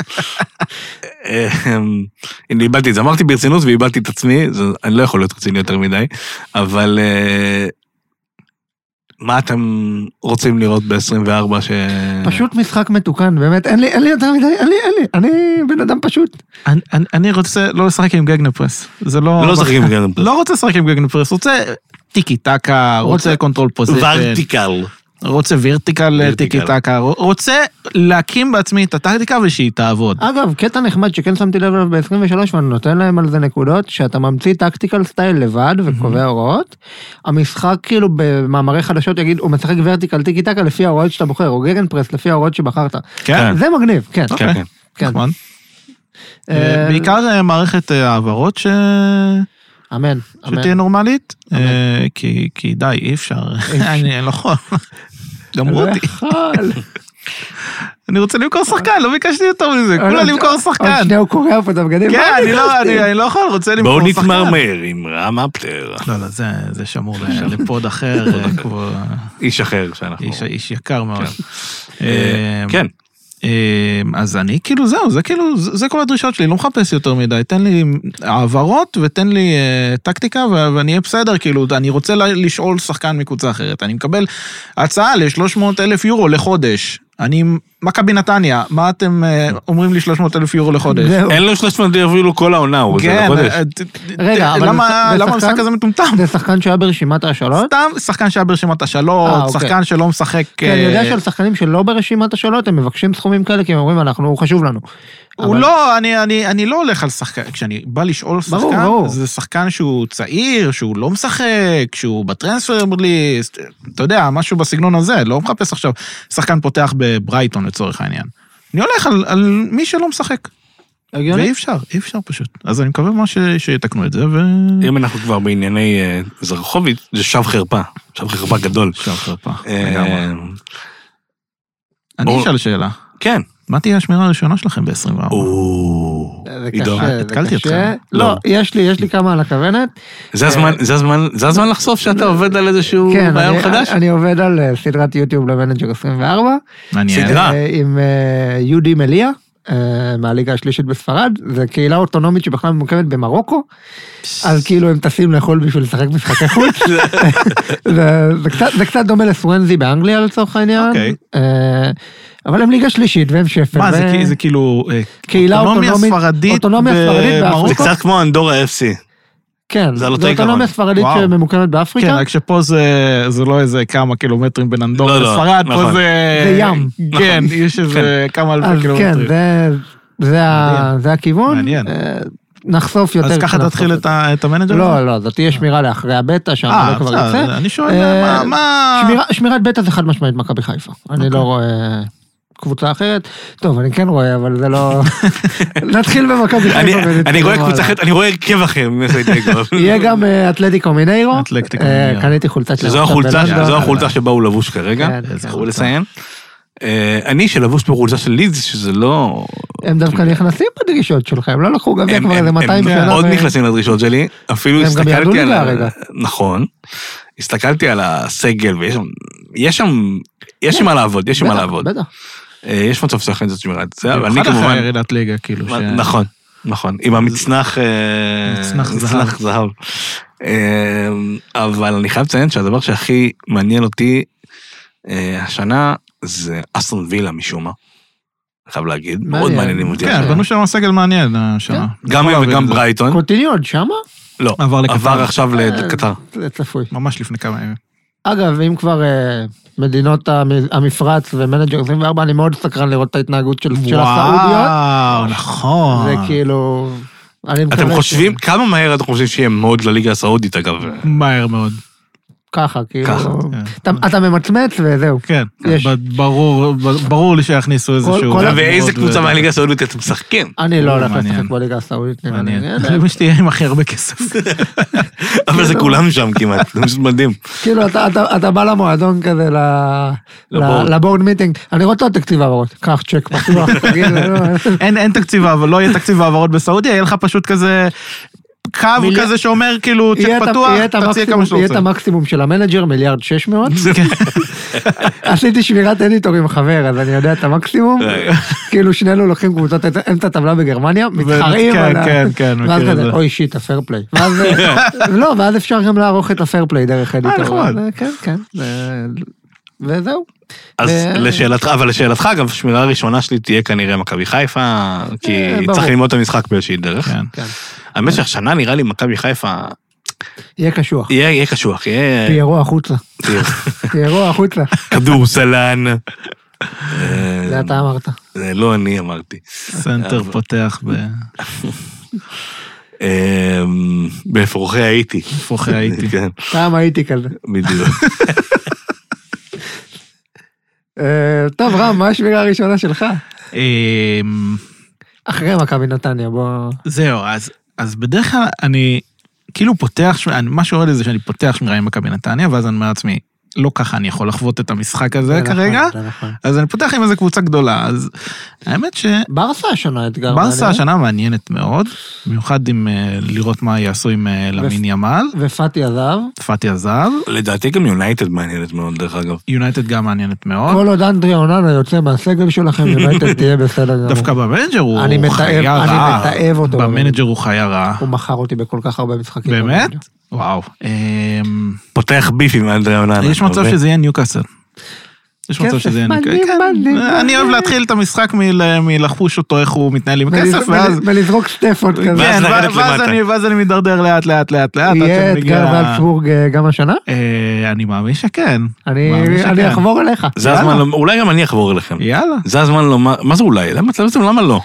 אמ, הנה איבדתי את זה, אמרתי ברצינות ואיבדתי את עצמי, זה- אני לא יכול להיות רציני יותר מדי, אבל אה, מה אתם רוצים לראות ב-24 ש... פשוט משחק מתוקן, באמת, אין לי, אין לי יותר מדי, אין לי, אין לי, אני בן אדם פשוט. אני- אני- אני רוצה לא לשחק עם גגנה פרס. זה לא... לא משחקים גם לא רוצה לשחק עם גגנה פרס, רוצה טיקי טקה, רוצה קונטרול פוזיישן, ורטיקל. רוצה וירטיקל טיקי טקה, רוצה להקים בעצמי את הטקטיקה ושהיא תעבוד. אגב, קטע נחמד שכן שמתי לב אליו ב-23 ואני נותן להם על זה נקודות, שאתה ממציא טקטיקל סטייל לבד וקובע הוראות. המשחק כאילו במאמרי חדשות יגיד, הוא משחק ורטיקל טיקי טקה לפי ההוראות שאתה בוחר, או גגנפרס לפי ההוראות שבחרת. כן. זה מגניב, כן. כן, כן. כן. נכון. אה, בעיקר אה, מערכת אה, העברות ש... אמן, אמן. שתהיה נורמלית, אה, כי כי די, אי אפשר, אני נכון. לא יכול. גמרו לא אותי. יכול. אני רוצה למכור שחקן, לא ביקשתי יותר אה, מזה, כולה למכור עוד שחקן. שנייה הוא קורע פה את הבגדים. כן, מה אני לא- ביקשתי? אני אני לא יכול, רוצה למכור בואו שחקן. נתמרמר עם רם אפטר, לא, לא, זה, זה שמור ל- לפוד אחר, אה, כמו נכון. איש אחר שאנחנו... איש, איש יקר מאוד. אה, אמ, כן, אמ, אז אני כאילו זהו, זה כאילו, זה זה כל הדרישות שלי, לא מחפש יותר מדי, תן לי העברות ותן לי אה, טקטיקה ו- ואני אהיה בסדר, כאילו, אני רוצה ל- לשאול שחקן מקבוצה אחרת, אני מקבל הצעה ל-300 אלף יורו לחודש. אני, מכבי נתניה, מה אתם אה, אומרים לי 300 אלף יורו לחודש? זהו. אין לו 300 אפילו כל העונה, הוא רוצה כן, לחודש. אה, ת- ת- רגע, אבל למה זה- זה למה המשחק שחקן? הזה מטומטם? זה שחקן שהיה ברשימת ההשאלות? סתם שחקן שהיה ברשימת אה, השאלות, אוקיי. שחקן שלא משחק... כן, אני יודע אה, שעל שחקנים שלא ברשימת השאלות הם מבקשים סכומים כאלה כי הם אומרים אנחנו, הוא חשוב לנו. הוא אבל- לא, אני, אני, אני לא הולך על שחקן, כשאני בא לשאול שחקן, ברור, ברור. זה שחקן שהוא צעיר, שהוא לא משחק, שהוא בטרנספר ליסט, אתה יודע, משהו בסגנון הזה, לא מחפש עכשיו שחקן פותח בברייטון לצורך העניין. אני הולך על, על מי שלא משחק, ואי הגיוני? אפשר, אי אפשר פשוט. אז אני מקווה ממש ש- שיתקנו את זה, ו... אם אנחנו כבר בענייני אה, זרחוביץ', זה שב חרפה, שב חרפה גדול. אפשר חרפה, אה, לגמרי. בואו- אני אשאל שאלה, כן. מה תהיה השמירה הראשונה שלכם ב-24? או, זה עידו, קשה, זה אה, התקלתי קשה. אותך. לא. לא, יש לי, יש לי כמה על הכוונת. זה הזמן, זה הזמן, זה הזמן לחשוף שאתה עובד על איזשהו כן, רעיון אני- חדש? אני עובד על אה, סדרת יוטיוב למנג'ר 24. מעניין. סדרה. אה, עם אה, יהודי מליה. אה, מהליגה השלישית בספרד, זה קהילה אוטונומית שבכלל ממוקמת במרוקו, אז כאילו הם טסים לחו"ל בשביל לשחק משחקי חוץ. זה- זה קצת- זה קצת דומה לסוונזי באנגליה לצורך העניין, אוקיי. אה, אבל הם ליגה שלישית והם שפל. מה, זה ו- כי- זה כאילו... אה, קהילה אוטונומיה אוטונומית, ספרדית אוטונומיה ספרדית במרוקו? זה באפריקה. קצת כמו אנדורה FC. כן, זה זה על אותו עיקרון. אוטונומיה ספרדית וואו. שממוקמת כן, באפריקה. רק שפה זה, זה לא איזה כמה קילומטרים בין אנדורה לא, לא, לספרד, פה נכון. זה... זה ים. כן, יש איזה כמה אז אלפי כן, קילומטרים. זה- זה ה- כאילו מעניין. זה הכיוון. מעניין. אה, נחשוף יותר. אז ככה כשנחשוף תתחיל את ה- את המנג'ר? לא, לא, זאת תהיה שמירה לאחרי הבטא, שם אה, זה כבר בסדר, יוצא. אני שואל אה, מה... מה... שמירה- שמירת בטא זה חד משמעית מכבי חיפה. אוקיי. אני לא רואה קבוצה אחרת. טוב, אני כן רואה, אבל זה לא... נתחיל במכבי אני- חיפה. ונתקדם אני רואה הלאה. קבוצה אחרת, אני רואה הרכב אחר מסיידגו. יהיה גם אה, אטלטיקו מיניירו. אטלטיקו אה, מיניירו. קניתי חולצה שלהם שזו עכשיו החולצה, בלונדון. שזו החולצה שבה הוא לבוש כרגע. כן, איזה כן. הוא לציין. אה, אני שלבוש בחולצה של לידס, שזה לא... הם דווקא נכנסים בדרישות שלך, הם לא לקחו גביע הם- כבר הם- איזה הם 200 שנה. מאוד ו- נכנסים לדרישות שלי, אפילו הם גם הסתכלתי על... ירדו ליגה ה- הרגע. נכון. הסתכלתי על הסגל, ויש שם... יש שם... יש שם מה לעבוד, יש שם מה בטח, לעבוד. בטח. אה, יש מצב שצריך לעשות שמירה את זה, לא, אבל אני במיוחד אחרי כמובן... ירידת ליגה, כאילו, ש... נכון, נכון, עם המצנח... אה, מצנח זהב. מצנח זהב. אה, אבל אני חייב לציין שהדבר שהכי מעניין אותי אה, השנה זה אסטון וילה משום מה. אני חייב להגיד, מאוד מעניין. מעניינים אותי. כן, השנה. בנו שם סגל מעניין כן. השנה. גם יכול הם להבין וגם את זה. ברייטון, קוטיניו עוד שמה? לא, עבר לקטר. עבר עכשיו לקטר. זה צפוי. ממש לפני כמה ימים. אגב, אם כבר אה, מדינות המ- המפרץ ומנג'ר 24, אני מאוד סקרן לראות את ההתנהגות של של הסעודיות. וואו, נכון. זה כאילו... אני אתם מקווה חושבים, כמה מהר אתם חושבים שיהיה מוד לליגה הסעודית אגב? מהר מאוד. שככה, כאילו... ככה, אתה- אתה ממצמץ וזהו. כן, יש. ב- ברור, ב- ברור לי שיכניסו איזשהו... כל- ואיזה מאוד, קבוצה ו- מהליגה הסעודית אתם משחקים? אני לא או, הולך מעניין. לשחק בליגה הסעודית. נראה לי. מעניין. אה, זה מי שתהיה עם הכי הרבה כסף. אבל כן, זה כולם שם כמעט, זה פשוט מדהים. כאילו אתה- אתה- אתה בא למועדון כזה ל- לבורד. ל- לבורד מיטינג, אני רוצה עוד תקציב העברות, קח צ'ק פתוח, תגיד, לא, אין, אין תקציב, אבל לא יהיה תקציב העברות בסעודיה, יהיה לך פשוט כזה קו מיליאר- כזה שאומר כאילו צ'ק יהיה את ה- פתוח, יהיה את תציע המקסימום- כמה שאתה יהיה את רוצה. המקסימום של המנג'ר, מיליארד 600. עשיתי שמירת אדיטור עם חבר, אז אני יודע את המקסימום. רגע. כאילו שנינו לוקחים קבוצות אמצע הטבלה בגרמניה, מתחרים כן, על ה... כן, כן, ואז מכיר את כזה, זה. אוי שיט, הפייר פליי. ואז, לא, ואז אפשר גם לערוך את הפייר פליי דרך אדיטור. אה, נחמד. אז, כן, כן. זה- וזהו. אז אה, לשאלתך, אבל לשאלתך אגב, שמירה ראשונה שלי תהיה כנראה מכבי חיפה, כי אה, ברור. צריך ללמוד את המשחק באיזושהי דרך. כן. כן. האמת שהשנה נראה לי מכבי חיפה, יהיה קשוח. יהיה יהיה קשוח, יהיה פיירו החוצה. פיירו החוצה. כדורסלן. אה, זה אתה אמרת. זה לא אני אמרתי. סנטר פותח אה, באפרוחי הייתי. בפרוחי הייתי. כן, פעם הייתי כזה. בדיוק. אה, טוב, רם, מה השמירה הראשונה שלך? אמ, אחרי מכבי נתניה, בוא... זהו, אז, אז בדרך כלל אני כאילו פותח, שמ- אני, מה שקורה לי זה שאני פותח שמירה עם מכבי נתניה, ואז אני אומר לעצמי, לא ככה אני יכול לחוות את המשחק הזה נכון, כרגע, זה נכון. אז אני פותח עם איזה קבוצה גדולה, אז האמת ש... ברסה השנה אתגר. ברסה מעניין. השנה מעניינת מאוד, במיוחד עם אה, לראות מה יעשו עם אה, למין ימל, ופאטי עזב. פאטי עזב, לדעתי גם יונייטד מעניינת מאוד, דרך אגב. יונייטד גם מעניינת מאוד, כל עוד אנדרי אוננה יוצא מהסגל שלכם, יונייטד תהיה בסדר גמור. דווקא במנג'ר הוא אני הוא מתעב- חיה אני רעה, מתעב אותו. במנג'ר הוא חיה רעה, הוא כאילו מכר אותי בכל כך הרבה משחקים. באמת? וואו, אמ, פותח ביף עם אנדרי אוננה. יש מצב שזה יהיה ניוקאסל. יש מצב כסף שזה יהיה מדהים, ניוקאסל, מדהים, כן. אני אוהב להתחיל את המשחק מל- מלחוש אותו איך הוא מתנהל עם ולז- כסף, ואז... ול- ולזרוק סטפות כזה. ואז כן, לרדת ואז למטה. אני- ואז אני מידרדר לאט לאט לאט לאט, עד יהיה שאני אתגר מגיע... ואלצבורג אה, גם השנה? אה, אני מאמין שכן. אני מאמין אני שכן. אחבור אליך. זה יאללה. הזמן, לומר- אולי גם אני אחבור אליכם. יאללה. זה הזמן לומר, מה זה אולי? למה, בעצם למה לא?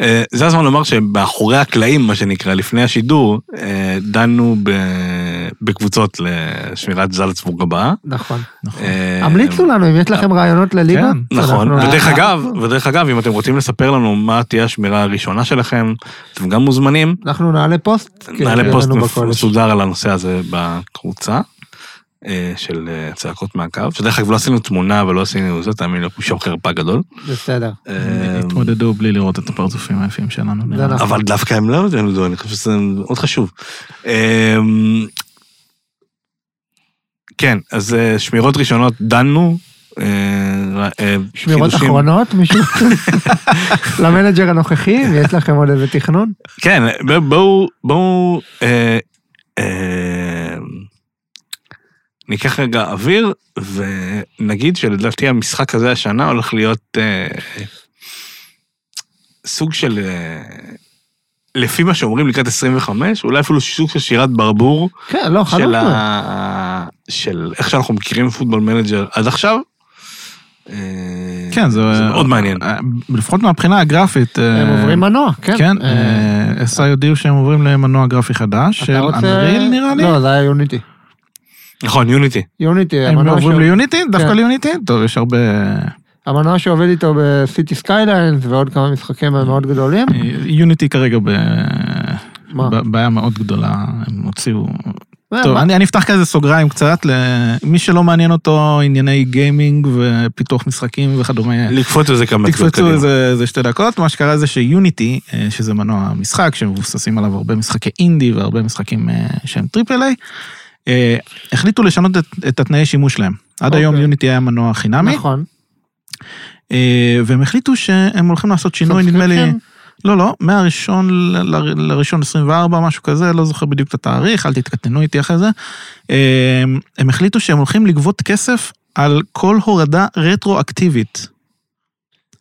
אה, זה הזמן לומר שבאחורי הקלעים, מה שנקרא, לפני השידור, אה, דנו ב, בקבוצות לשמירת זלצבורג הבאה. נכון. אה, המליצו לנו אם יש לכם רעיונות לליגה. כן, נכון, אנחנו- אה, ודרך אגב, ודרך אגב, אם אתם רוצים לספר לנו מה תהיה השמירה הראשונה שלכם, אתם גם מוזמנים, אנחנו נעלה פוסט. כי נעלה שיהיה פוסט כן, לנו מפ- בקודש. מסודר על הנושא הזה בקבוצה. אה, של אה, צעקות מהקו, שדרך אגב לא עשינו תמונה ולא עשינו זה, תאמין לי, בושה וחרפה גדול. בסדר. אה, התמודדו בלי לראות את הפרצופים היפים שלנו. נראה לי. נכון. אבל דווקא הם לא ידעו, אני חושב שזה מאוד חשוב. אמ, כן, אז אה, שמירות ראשונות דנו. אה, אה, שמירות חידושים- אחרונות, מישהו? למנג'ר הנוכחי, אם יש לכם עוד איזה תכנון? כן, ב- בואו, בואו, אה, אה, ניקח רגע אוויר ונגיד שלדעתי המשחק הזה השנה הולך להיות אה, סוג של, אה, לפי מה שאומרים לקראת 25, אולי אפילו סוג של שירת ברבור כן, לא, חד של, משמעית. ה... של איך שאנחנו מכירים פוטבול מנג'ר עד עכשיו. אה, כן, זה... זה מאוד מעניין. אה, לפחות מהבחינה הגרפית. הם אה, עוברים מנוע, כן. כן, אה, אה, SI הודיעו שהם עוברים למנוע גרפי חדש, אתה של רוצה- אנריל נראה לי. לא, זה היה יוניטי. נכון, יוניטי. יוניטי, הם המנוע עוברים ש- ליוניטי? דווקא כן. ליוניטי? טוב, יש הרבה... המנוע שעובד איתו בסיטי סקייליינס ועוד כמה משחקים מאוד גדולים. יוניטי אה, כרגע ב... מה? בעיה מאוד גדולה, הם הוציאו... אה, אה, טוב, מה? אני אני אפתח כזה סוגריים קצת למי שלא מעניין אותו ענייני גיימינג ופיתוח משחקים וכדומה. לקפוץ איזה כמה דקות תקפצו קדימה. איזה איזה שתי דקות, מה שקרה זה שיוניטי, אה, שזה מנוע משחק שמבוססים עליו הרבה משחקי אינדי והרבה משחקים אה, שהם טריפל איי, אה, החליטו לשנות את, את התנאי שימוש שלהם. עד אוקיי. היום יוניטי היה מנוע חינמי, נכון. אה, והם החליטו שהם הולכים לעשות שינוי, נדמה לי... לא, לא, מהראשון ל- ל- לראשון 24, משהו כזה, לא זוכר בדיוק את התאריך, אל תתקטנו איתי אחרי זה. אה, הם החליטו שהם הולכים לגבות כסף על כל הורדה רטרואקטיבית.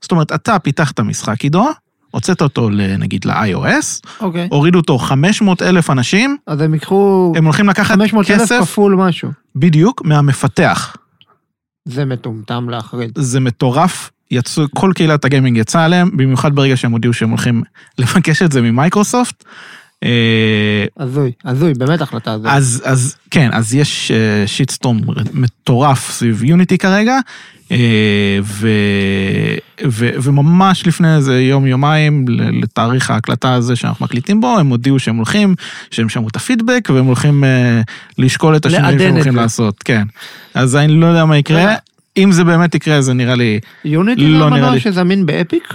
זאת אומרת, אתה פיתחת משחק, עידו, הוצאת אותו ל- נגיד ל-iOS, אוקיי. הורידו אותו 500 אלף אנשים, אז הם ייקחו הם הולכים לקחת 500 אלף כסף כפול משהו. בדיוק מהמפתח. זה מטומטם להחריד. זה מטורף. יצאו, כל קהילת הגיימינג יצאה עליהם, במיוחד ברגע שהם הודיעו שהם הולכים לבקש את זה ממייקרוסופט. אה, הזוי, הזוי, באמת החלטה הזוי. אז, אז כן, אז יש אה, שיטסטורם מטורף סביב יוניטי כרגע, אה, ו, ו, וממש לפני איזה יום יומיים ל- לתאריך ההקלטה הזה שאנחנו מקליטים בו, הם הודיעו שהם הולכים, שהם שמעו את הפידבק והם הולכים אה, לשקול את השינויים לעדן שהם את הולכים זה. לעשות, כן. אז אני לא יודע מה יקרה, רגע. אם זה באמת יקרה זה נראה לי, יוניטי לא זה נראה לי. המנוע שזמין באפיק?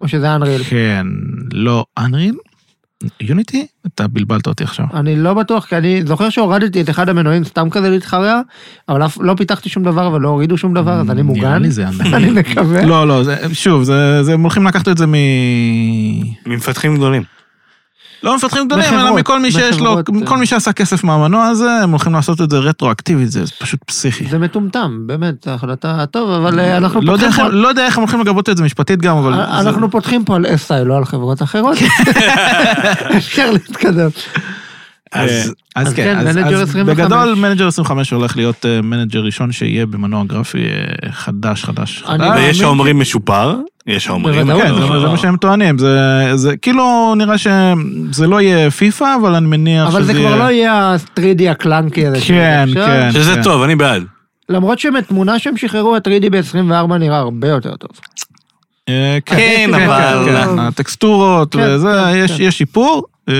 או שזה אנריל? כן, לא, אנריל, יוניטי, אתה בלבלת אותי עכשיו. אני לא בטוח, כי אני זוכר שהורדתי את אחד המנועים סתם כזה להתחרע, אבל אף- לא פיתחתי שום דבר ולא הורידו שום דבר, אז אני מוגן. נראה לי זה אני אנריל. מקווה. לא, לא, זה, שוב, זה, זה, הם הולכים לקחת את זה מ... ממפתחים גדולים. לא מפתחים גדולים, אלא מחברות, מכל מי שיש לו, מחברות, אה. כל מי שעשה כסף מהמנוע הזה, הם הולכים לעשות את זה רטרואקטיבית, זה פשוט פסיכי. זה מטומטם, באמת, החלטה טוב, אבל אה, אנחנו לא יודע פותחים איך פה הם- לא יודע איך הם הולכים לגבות את זה משפטית גם, אבל... אה, זה- אנחנו פותחים פה על SI, לא על חברות אחרות. אפשר להתקדם. אז אז כן, אז כן, אז מנג'ר אז 25. בגדול מנג'ר 25 הולך להיות אה, מנג'ר ראשון שיהיה במנוע גרפי אה, חדש, חדש, אני- חדש. ויש האומרים משופר, יש האומרים... בוודאות, כן, אה, זה- זה מה שהם טוענים, זה- זה כאילו נראה שזה לא יהיה פיפא, אבל אני מניח שזה אבל זה כבר לא יהיה ה-3D הקלנקי הזה. שזה כן, עכשיו. כן. שזה טוב, אני בעד. למרות שמתמונה שהם שחררו, ה-3D ב-24 נראה הרבה יותר טוב. אה, כן, כן, אבל- כן, הטקסטורות כן, וזה, כן, יש- כן. יש שיפור. אה,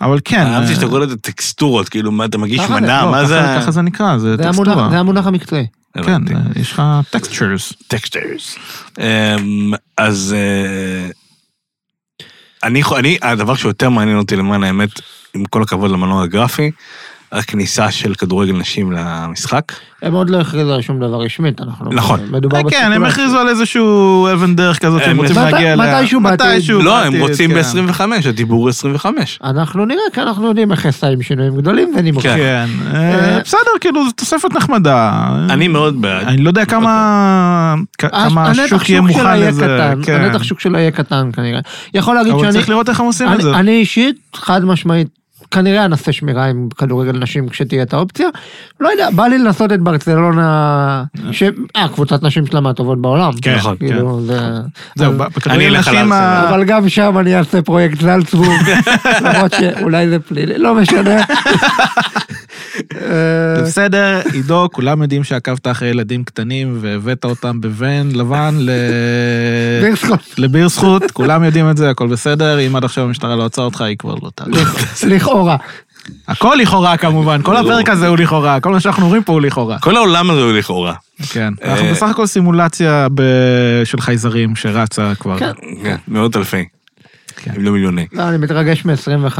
אבל כן. אהבתי אה, שאתה קורא לזה טקסטורות, כאילו, מה, אתה מגיש ככה זה, מנה, לא, מה ככה- זה... ככה זה נקרא, זה זה המונח- טקסטורה. זה המונח המקצועי. כן, הבנתי. אה, יש לך טקסטורס. טקסטרס. אמ, אז אה, אני, חו- אני, הדבר שיותר מעניין אותי למען האמת, עם כל הכבוד למנוע הגרפי, הכניסה של כדורגל נשים למשחק. הם עוד לא הכריזו על שום דבר רשמית, אנחנו... נכון. כן, מדובר הם בספקולציה. הכריזו על איזשהו אבן דרך כזאת הם שהם רוצים מתי- להגיע אליה. מתישהו בעתיד. לא, הם בעתיד, רוצים כן. ב-25, הדיבור 25. אנחנו נראה, כי אנחנו יודעים איך עשה עם שינויים גדולים ונימוקים. כן. כן, אה, בסדר, כאילו, זו תוספת נחמדה. אני מאוד בעד. אני לא יודע כמה כ- כמה אה, הנתח השוק יהיה שוק שלה מוכן יהיה לזה. קטן, כן. הנתח שוק שלו יהיה קטן כנראה. יכול להגיד אבל שאני... צריך לראות איך הם עושים את אני, זה. אני אישית, חד משמעית, כנראה אנסה שמירה עם כדורגל נשים כשתהיה את האופציה. לא יודע, בא לי לנסות את ברצלונה, ש... אה, קבוצת נשים שלה מהטובות בעולם. כן, נכון, כאילו, זה... זהו, אז- אני בכדורגל אלך על נשים ה- אה, אבל גם שם אני אעשה פרויקט זלצבורג, למרות שאולי זה פלילי, לא משנה. אה, זה בסדר, עידו, כולם יודעים שעקבת אחרי ילדים קטנים והבאת אותם בוון לבן ל... דרך סקוט. לביר זכות, כולם יודעים את זה, הכל בסדר, אם עד עכשיו המשטרה לא עצרה אותך, היא כבר לא תעלה. לכאורה. הכל לכאורה כמובן, לא. כל הפרק הזה הוא לכאורה, כל מה שאנחנו אומרים פה הוא לכאורה. כל העולם הזה הוא לכאורה. כן, אנחנו אה, בסך הכל סימולציה ב- של חייזרים שרצה כבר. כן. כן, מאות אלפי, כן. אם לא מיליוני. לא, אני מתרגש מ-25,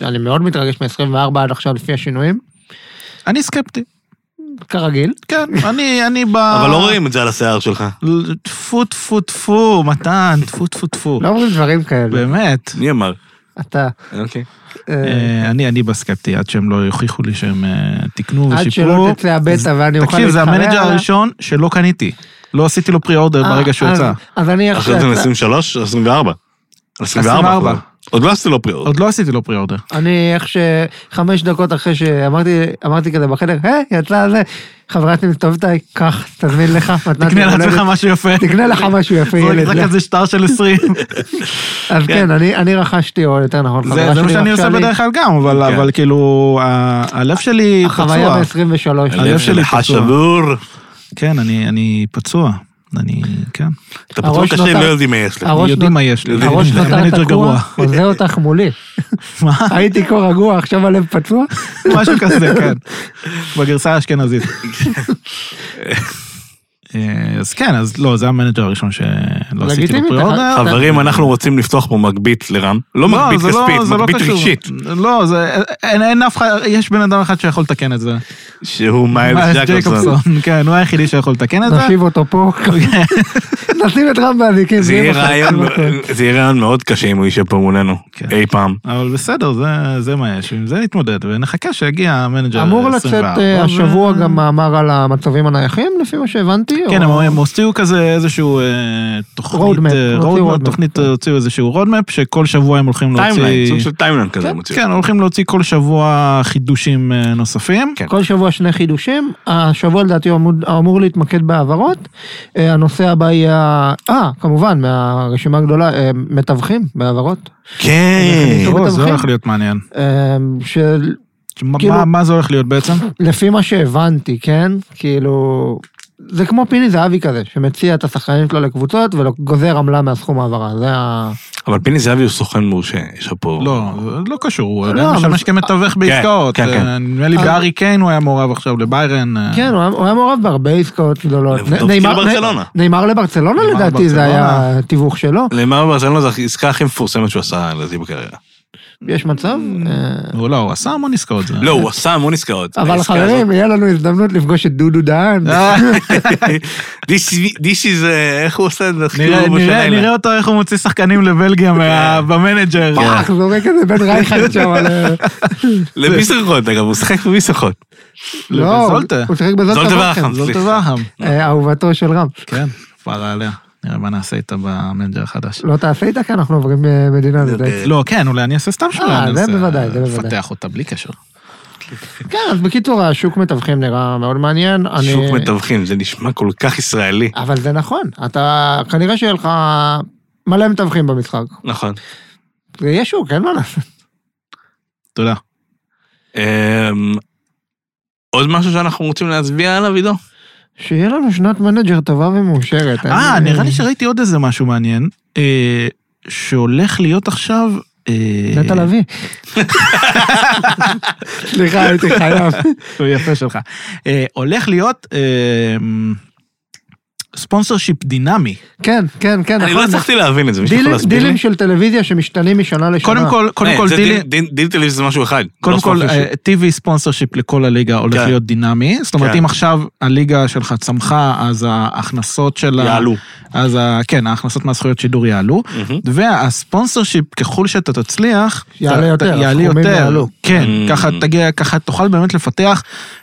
אני מאוד מתרגש מ-24 עד עכשיו לפי השינויים, אני סקפטי, כרגיל. כן, אני, אני ב... אבל לא רואים את זה על השיער שלך. ל- טפו טפו טפו, מתן, טפו טפו טפו. לא אומרים דברים כאלה. באמת. מי אמר? אתה... אוקיי. אה, אה, אני אני בסקפטי עד שהם לא יוכיחו לי שהם אה, תיקנו עד ושיפרו. שלא תצא הבטא ואני אוכל תקשיב זה להתחרע המנג'ר עליה. הראשון שלא קניתי. לא עשיתי לו פרי אורדר אה, ברגע שהוא אז- יצא. אז אני איך אחרי זה שיצא- 23, 24. 24. 24. עוד לא עשיתי לו פריאות. עוד לא עשיתי לו פרי אורדר. אני איך ש... חמש דקות אחרי שאמרתי אמרתי כזה בחדר, היי, יצא זה, חברה שלי מסתובבת עליי, קח, תזמין לך, מתנת תקנה יום הולדת." לעצמך משהו יפה. לא, תקנה לך משהו יפה, ילד. לא. רק על זה שטר של 20. אז כן, אני- אני רכשתי, או יותר נכון, זה- חברה זה מה שלי שאני רכשה עושה לי. בדרך כלל גם, אבל כן. אבל כאילו ה- הלב שלי החוויה פצוע. ב-23. הלב הלב שלי שלך פצוע. שבור. כן, אני אני פצוע. אני, כן. אתה פצוע הראש קשה נותר- אם לא יודעים מה יש לך. הראש יודעים נות- מה יש לי. הראש זה נותר מנג'ר תקוע, גרוע. חוזה אותך מולי. מה? הייתי כה רגוע, עכשיו הלב פצוע. משהו כזה, כן. בגרסה האשכנזית. כן. אה, אז כן, אז לא, זה המנג'ר הראשון שלא עשיתי לו לגיטימי, פרי אתה- אורדר. חברים, אנחנו רוצים לפתוח פה מגבית לרם. לא מגבית לא זה זה כספית, מגבית קשור. רגשית. לא, זה, אין, אין אף אחד, יש בן אדם אחד שיכול לתקן את זה. שהוא מיילס מיילס ג'קובסון. כן, הוא היחידי שיכול לתקן את זה. נושיב אותו פה, אוקיי. נשים את רם באזיקים. זה בלי יהיה מחר, רעיון- בלי מחר. זה יהיה רעיון מאוד קשה אם הוא יישב פה מולנו, כן. אי פעם. אבל בסדר, זה, זה מה יש, עם זה נתמודד, ונחכה שיגיע המנג'ר אמור לצאת אה, 24, השבוע ו- גם מאמר על המצבים הנייחים, לפי מה שהבנתי. כן, או- הם- הם הוציאו כזה איזשהו אה, תוכנית, Roadmap, אה, הוציאו roadmap, roadmap. תוכנית, אה, הוציאו איזשהו רודמפ, שכל שבוע הם הולכים טיימליין, להוציא... סוג של טיימליין כזה. הם מוציאים. כן, הולכים להוציא כל שבוע חידושים אה, נוספים. כן. כל שבוע שני חידושים, השבוע לדעתי הוא אמור- אמור להתמקד בהעברות, אה, הנושא הבא יהיה, אה, כמובן, מהרשימה הגדולה, אה, מתווכים בהעברות, כן. טוב, או, אתה אה, זה מכין? הולך להיות מעניין. אה, של- מה- כאילו- אה. מה- מה זה הולך להיות בעצם? לפי מה שהבנתי, כן? כאילו... זה כמו פיני זהבי כזה, שמציע את השחקנים שלו לקבוצות וגוזר עמלה מהסכום העברה, זה ה... אבל פיני זהבי הוא סוכן מורשה, יש לך פה... לא, זה לא קשור, הוא לא, עדיין אבל- משמש כמתווך בעסקאות. כן, כן. אה, נדמה לי אבל- בארי קיין הוא היה מעורב עכשיו לביירן. אה, כן, הוא היה- הוא היה מעורב בהרבה עסקאות גדולות. לבנדובסקי נ- נאמר- לברצלונה. נ- נאמר לברצלונה נאמר לדעתי זה לברצלונה. היה תיווך שלו, למה ברצלונה זו העסקה הכי מפורסמת שהוא עשה לדעתי בקריירה. יש מצב? אה, הוא לא, הוא עשה המון עסקאות. זה- לא, הוא עשה המון עסקאות. אבל העסקה חברים, הזאת- יהיה לנו הזדמנות לפגוש את דודו דהן. אה, This is- This is... אה, איך הוא כן. עושה את זה? כאילו, הכי נראה- טוב נראה- בשנה, נראה אלה. אותו איך הוא מוציא שחקנים לבלגיה מה- במנג'ר. כן. פח, זורק את זה בין רייכרד שם. אה, על ה- לביסרחות, אגב, הוא שיחק בביסרחות. לא, הוא- בזולטה. הוא שיחק בזולטה. זולטה ברקן. ורחם. כן, זאת טובה. אה, אהובתו של רם. כן, פרה עליה. נראה מה נעשה איתה במנג'ר החדש. לא תעשה איתה כי אנחנו עוברים אה, מדינה לדעתי. לא, כן, אולי אני אעשה סתם שאלה. אה, אני זה אעשה- בוודאי, זה בוודאי. אפתח אותה בלי קשר. כן, אז בקיצור, השוק מתווכים נראה מאוד מעניין. אני- שוק מתווכים, זה נשמע כל כך ישראלי. אבל זה נכון, אתה כנראה שיהיה לך מלא מתווכים במשחק. נכון. זה יהיה שוק, אין מה לעשות. תודה. אמ, נכון, עוד משהו שאנחנו רוצים להצביע עליו, עידו? שיהיה לנו שנת מנג'ר טובה ומאושרת. אה, אני- נראה לי שראיתי עוד איזה משהו מעניין, אה, שהולך להיות עכשיו אה, נטע לביא. סליחה, הייתי חייב. הוא יפה שלך. אה, הולך להיות ספונסר שיפ דינמי. כן, כן, כן, אני לא נכון. הצלחתי להבין את זה, מישהו יכול דילים- להסביר לי? דילים של טלוויזיה שמשתנים משנה לשנה. קודם כל, קודם אה, כל זה דילים... דיל- דיל- דיל טלוויזיה זה משהו אחד. קודם לא כל, ספונסר שיפ. אה, TV ספונסר שיפ לכל הליגה הולך כן. להיות דינמי. זאת אומרת, כן. אם עכשיו הליגה שלך צמחה, אז ההכנסות שלה... יעלו. אז ה- כן, ההכנסות מהזכויות שידור יעלו. מהמם. והספונסר שיפ, ככל שאתה תצליח... יעלה אתה- יותר, יעלה הסכומים יותר. יעלו. כן, Mm. ככה תגיע, ככה תוכל באמת לפתח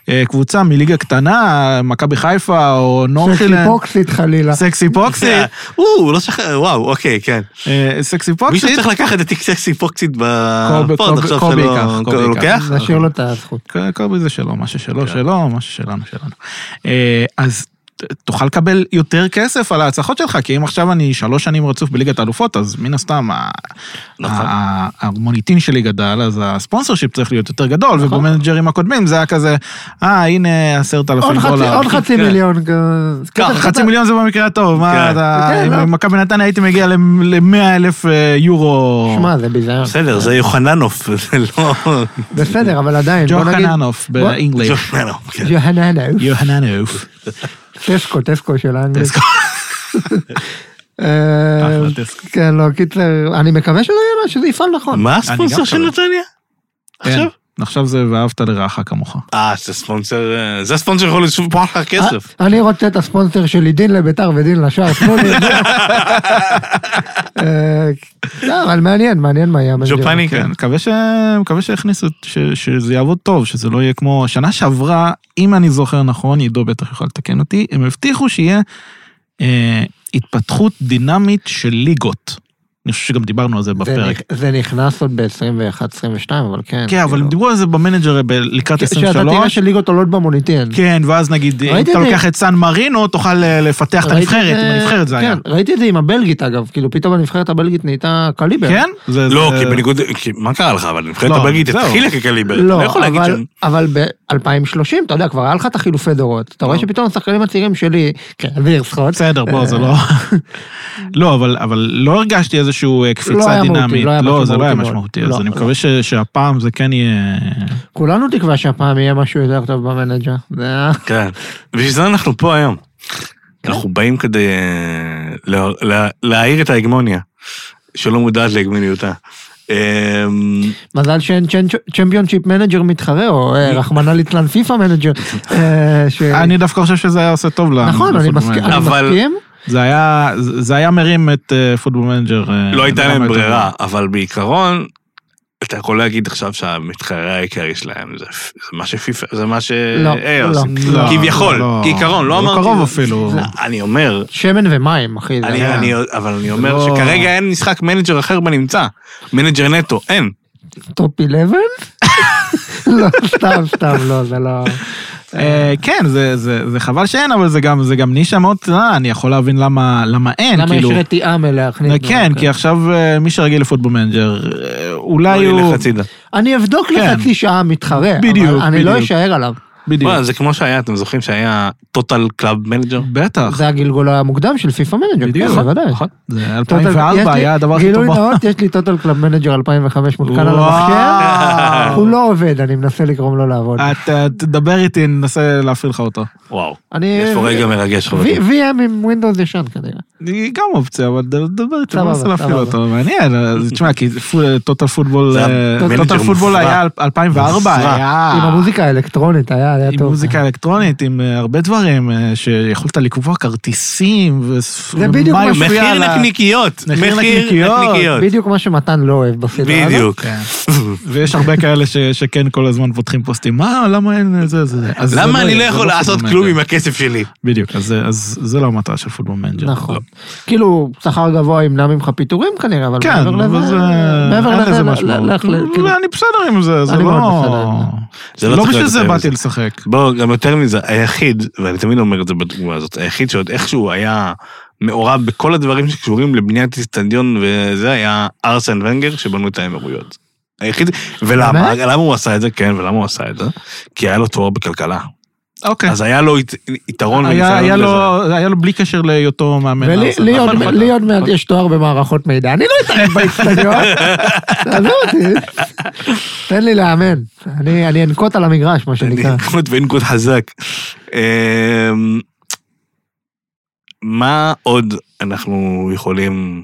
אה, קבוצה מליגה קטנה, מכבי חיפה או אוקיי, נורפילנד. חיפוקסית אוקיי, חלילה. סקסי פוקסית. אה, או, לא שכח... וואו, אוקיי, כן. אה, סקסי מישהו פוקסית. צריך לקחת את טיקסקסי פוקסית קובי- בפוד קובי- עכשיו קובי שלא... ייקח, קובי הוא ייקח. לוקח? נשאיר לו את הזכות. כל- כל זה שלו, מה ששלו כן. שלו, מה ששלנו שלנו. אה, אז ת- תוכל לקבל יותר כסף על ההצלחות שלך, כי אם עכשיו אני שלוש שנים רצוף בליגת האלופות, אז מן הסתם ה- נכון. ה- המוניטין שלי גדל, אז הספונסר שיפ צריך להיות יותר גדול, נכון. ובמנג'רים הקודמים זה היה כזה, אה הנה עשרת עוד אלפים חצי- דולר. עוד חצי כן. מיליון. כזה. קח, כסף חצי קטן. מיליון זה במקרה הטוב, מה כן. אתה, כן, אם לא. אם מכבי נתניה הייתי מגיע ל-100 אלף אה, יורו. שמע, זה ביזיון. בסדר, זה יוחננוף, זה לא... בסדר, אבל עדיין, ג'ו בוא נגיד... חננוף בוא- באנגלית. יוחננוף, כן. ג'והננוף. יוהננוף. טסקו, טסקו של האנגלית. טסקו. אה, אחלה טסקו. כן, לא, קיצר, אני מקווה שזה יהיה- שזה יפעל נכון. מה הספונסר גם של מקווה. נתניה? עכשיו? עכשיו? כן. עכשיו זה ואהבת לרעך כמוך. כן. אה, זה ספונסר, אה, זה ספונסר יכול לשוב פה אחר כסף. אה, אני רוצה את הספונסר שלי, דין לביתר ודין לשער, תנו לי את זה. אה, לא, אבל מעניין, מעניין מה יהיה המנג'ר. ג'ופני, כן. כן, מקווה ש... מקווה שהכניסו, ש... שזה יעבוד טוב, שזה לא יהיה כמו... שנה שעברה, אם אני זוכר נכון, עידו בטח יוכל לתקן אותי, הם הבטיחו שיהיה אה, התפתחות דינמית של ליגות. אני חושב שגם דיברנו על זה זה בפרק. נכ- זה נכנס עוד ב-21-22, אבל כן. כן, אבל כאילו. דיברו על זה במנג'ר ב- לקראת שאתה תראה 23. שליגות עולות במוניטין. כן, ואז נגיד, אם ראיתי אתה את זה. לוקח את סן מרינו, תוכל אה, לפתח את ראיתי הנבחרת, את עם זה- הנבחרת זה היה. כן, ראיתי את זה עם הבלגית אגב, כאילו פתאום הנבחרת הבלגית נהייתה קליבר. כן? זה- לא, זה- כי בניגוד, כי מה קרה לך, אבל נבחרת לא, הבלגית זהו. התחילה כקליבר. אתה לא לא, יכול להגיד אבל, שהם- אבל ב-2030, אתה יודע, כבר היה לך את החילופי דורות. אתה אה. רואה שפתאום השחקנים הצעירים שלי, כן, אביר סחוט, בסדר, בוא, זה לא... לא, אבל, אבל לא הרגשתי איזושהי אה, לא קפיצה היה מהותי, דינמית. לא היה לא, משהו זה לא היה מהותי מאוד. משמעותי, אז לא, אני לא. מקווה ש- שהפעם זה כן יהיה... כולנו תקווה שהפעם יהיה משהו יותר טוב במנג'ר. זה ה- כן. בשביל זה אנחנו פה היום. אנחנו באים כדי אה, לה- לה- להעיר את ההגמוניה, שלא מודעת להגמוניותה. אה, מזל שאין צ'נ- צ'מפיונשיפ מנג'ר מתחרה, או אה, רחמנא ליצלן פיפא מנג'ר. אה, ש- לא אני דווקא חושב שזה היה עושה טוב לנו. נכון, אני בפוטבול מסכים- מנג'ר. אני אבל- מסכים. זה היה, זה היה מרים את אה, פוטבול מנג'ר. אה, לא הייתה למה להם יותר ברירה, אבל בעיקרון, אתה יכול להגיד עכשיו שהמתחרה העיקרי שלהם זה פ- זה מה שפיפ"א, זה מה ש... לא, אה, לא. עושים. טוב. לא, כביכול, לא, כעיקרון, לא אמרתי- לא קרוב אפילו. כן. אני אומר, שמן ומים, אחי. זה אני, היה- אני, אבל אני אומר לא- שכרגע אין משחק מנג'ר אחר בנמצא. מנג'ר נטו, אין. טופ 11? לא, סתם, סתם, לא, זה לא... אה, כן, זה- זה זה חבל שאין, אבל זה גם- זה גם נישה מאוד קטנה, אני יכול להבין למה למה כן, אין, למה יש אוקיי. כאילו. רתיעה מלהכניס? אה, דברים כן, כאלה? כי עכשיו אה, מי שרגיל לפוטבול מנג'ר, אה, אולי הוא הוא... ילך הצידה. אני אבדוק כן. לחצי שעה מתחרה, בדיוק, אבל אני לא בדיוק. אשאר עליו. בדיוק. וואלה, זה כמו שהיה, אתם זוכרים שהיה טוטל קלאב מנג'ר? בטח. זה הגלגול המוקדם של פיפא מנג'ר, בדיוק. נכון. כן, בוודאי. זה טוטל- 2004 יש לי- היה הדבר הכי טוב. גילוי בעולם. נאות, יש לי טוטל קלאב מנג'ר 2005 מותקן על המחשב, וואו. הוא לא עובד, אני מנסה לגרום לו לעבוד. אתה אה, תדבר איתי, ננסה להפעיל לך אותו. וואו. אני... יש פה רגע מרגש ו- חברים. VM עם ווינדוס ישן כנראה. היא גם אופציה, אבל דבר איתי, סבבה, ננסה להפעיל סבבה. אותו. מעניין, אז תשמע, כי טוטל פוטבול, אה, זה היה טוטל מנג'ר פוטבול מופרע. היה אל- 2004, מופרע. היה... עם המוזיקה האלקטרונית היה, היה אה. עם טוב. מוזיקה אלקטרונית, עם אה, הרבה דברים, אה, שיכולת לקבוע כרטיסים, וס- זה בדיוק ומה מה- יופיע מחיר על ה- נקניקיות. מחיר נקניקיות. בדיוק מה שמתן לא אוהב בסדרה הזאת. בדיוק. כן. ויש הרבה כאלה ש- שכן כל הזמן פותחים פוסטים, מה, למה אין זה, זה, זה. אז זה למה אני לא יהיה, זה יכול לעשות פוטבול כלום מנג'ר. עם הכסף שלי? בדיוק, אז זה- אז זה לא המטרה של פוטבול מנג'ר. נכון. לא. כאילו, שכר גבוה ימנע ממך פיטורים כנראה, אבל כן, מעבר אבל לזה... זה... אין מעבר לזה... לא- לזה ל- משמעות. ל- ל- כאילו, אני בסדר עם זה, זה אני מאוד לא... בסדר עם זה לא לא צריך בשביל להיות זה יותר באתי מזה. לשחק. בואו, גם יותר מזה, היחיד, ואני תמיד אומר את זה בדוגמה הזאת, היחיד שעוד איכשהו היה מעורב בכל הדברים שקשורים לבניית אצטדיון וזה, היה ארסן ונגר שבנו את האמירויות. היחיד, ולמה? באמת? למה הוא עשה את זה? כן, ולמה הוא עשה את זה? כי היה לו תואר בכלכלה. אוקיי. אז היה לו ית- יתרון היה, היה, וניסיון לזה. לו, היה לו בלי קשר להיותו מאמן. ולי ארסנל. לי עוד- נכון, נכון. לי עוד מעט יש תואר במערכות מידע, אני לא אתערב באיצטדיון, תעזוב אותי, תן לי לאמן, אני אני אנקוט על המגרש מה שנקרא. ניקוד ואינקוד חזק. אמ, מה עוד אנחנו יכולים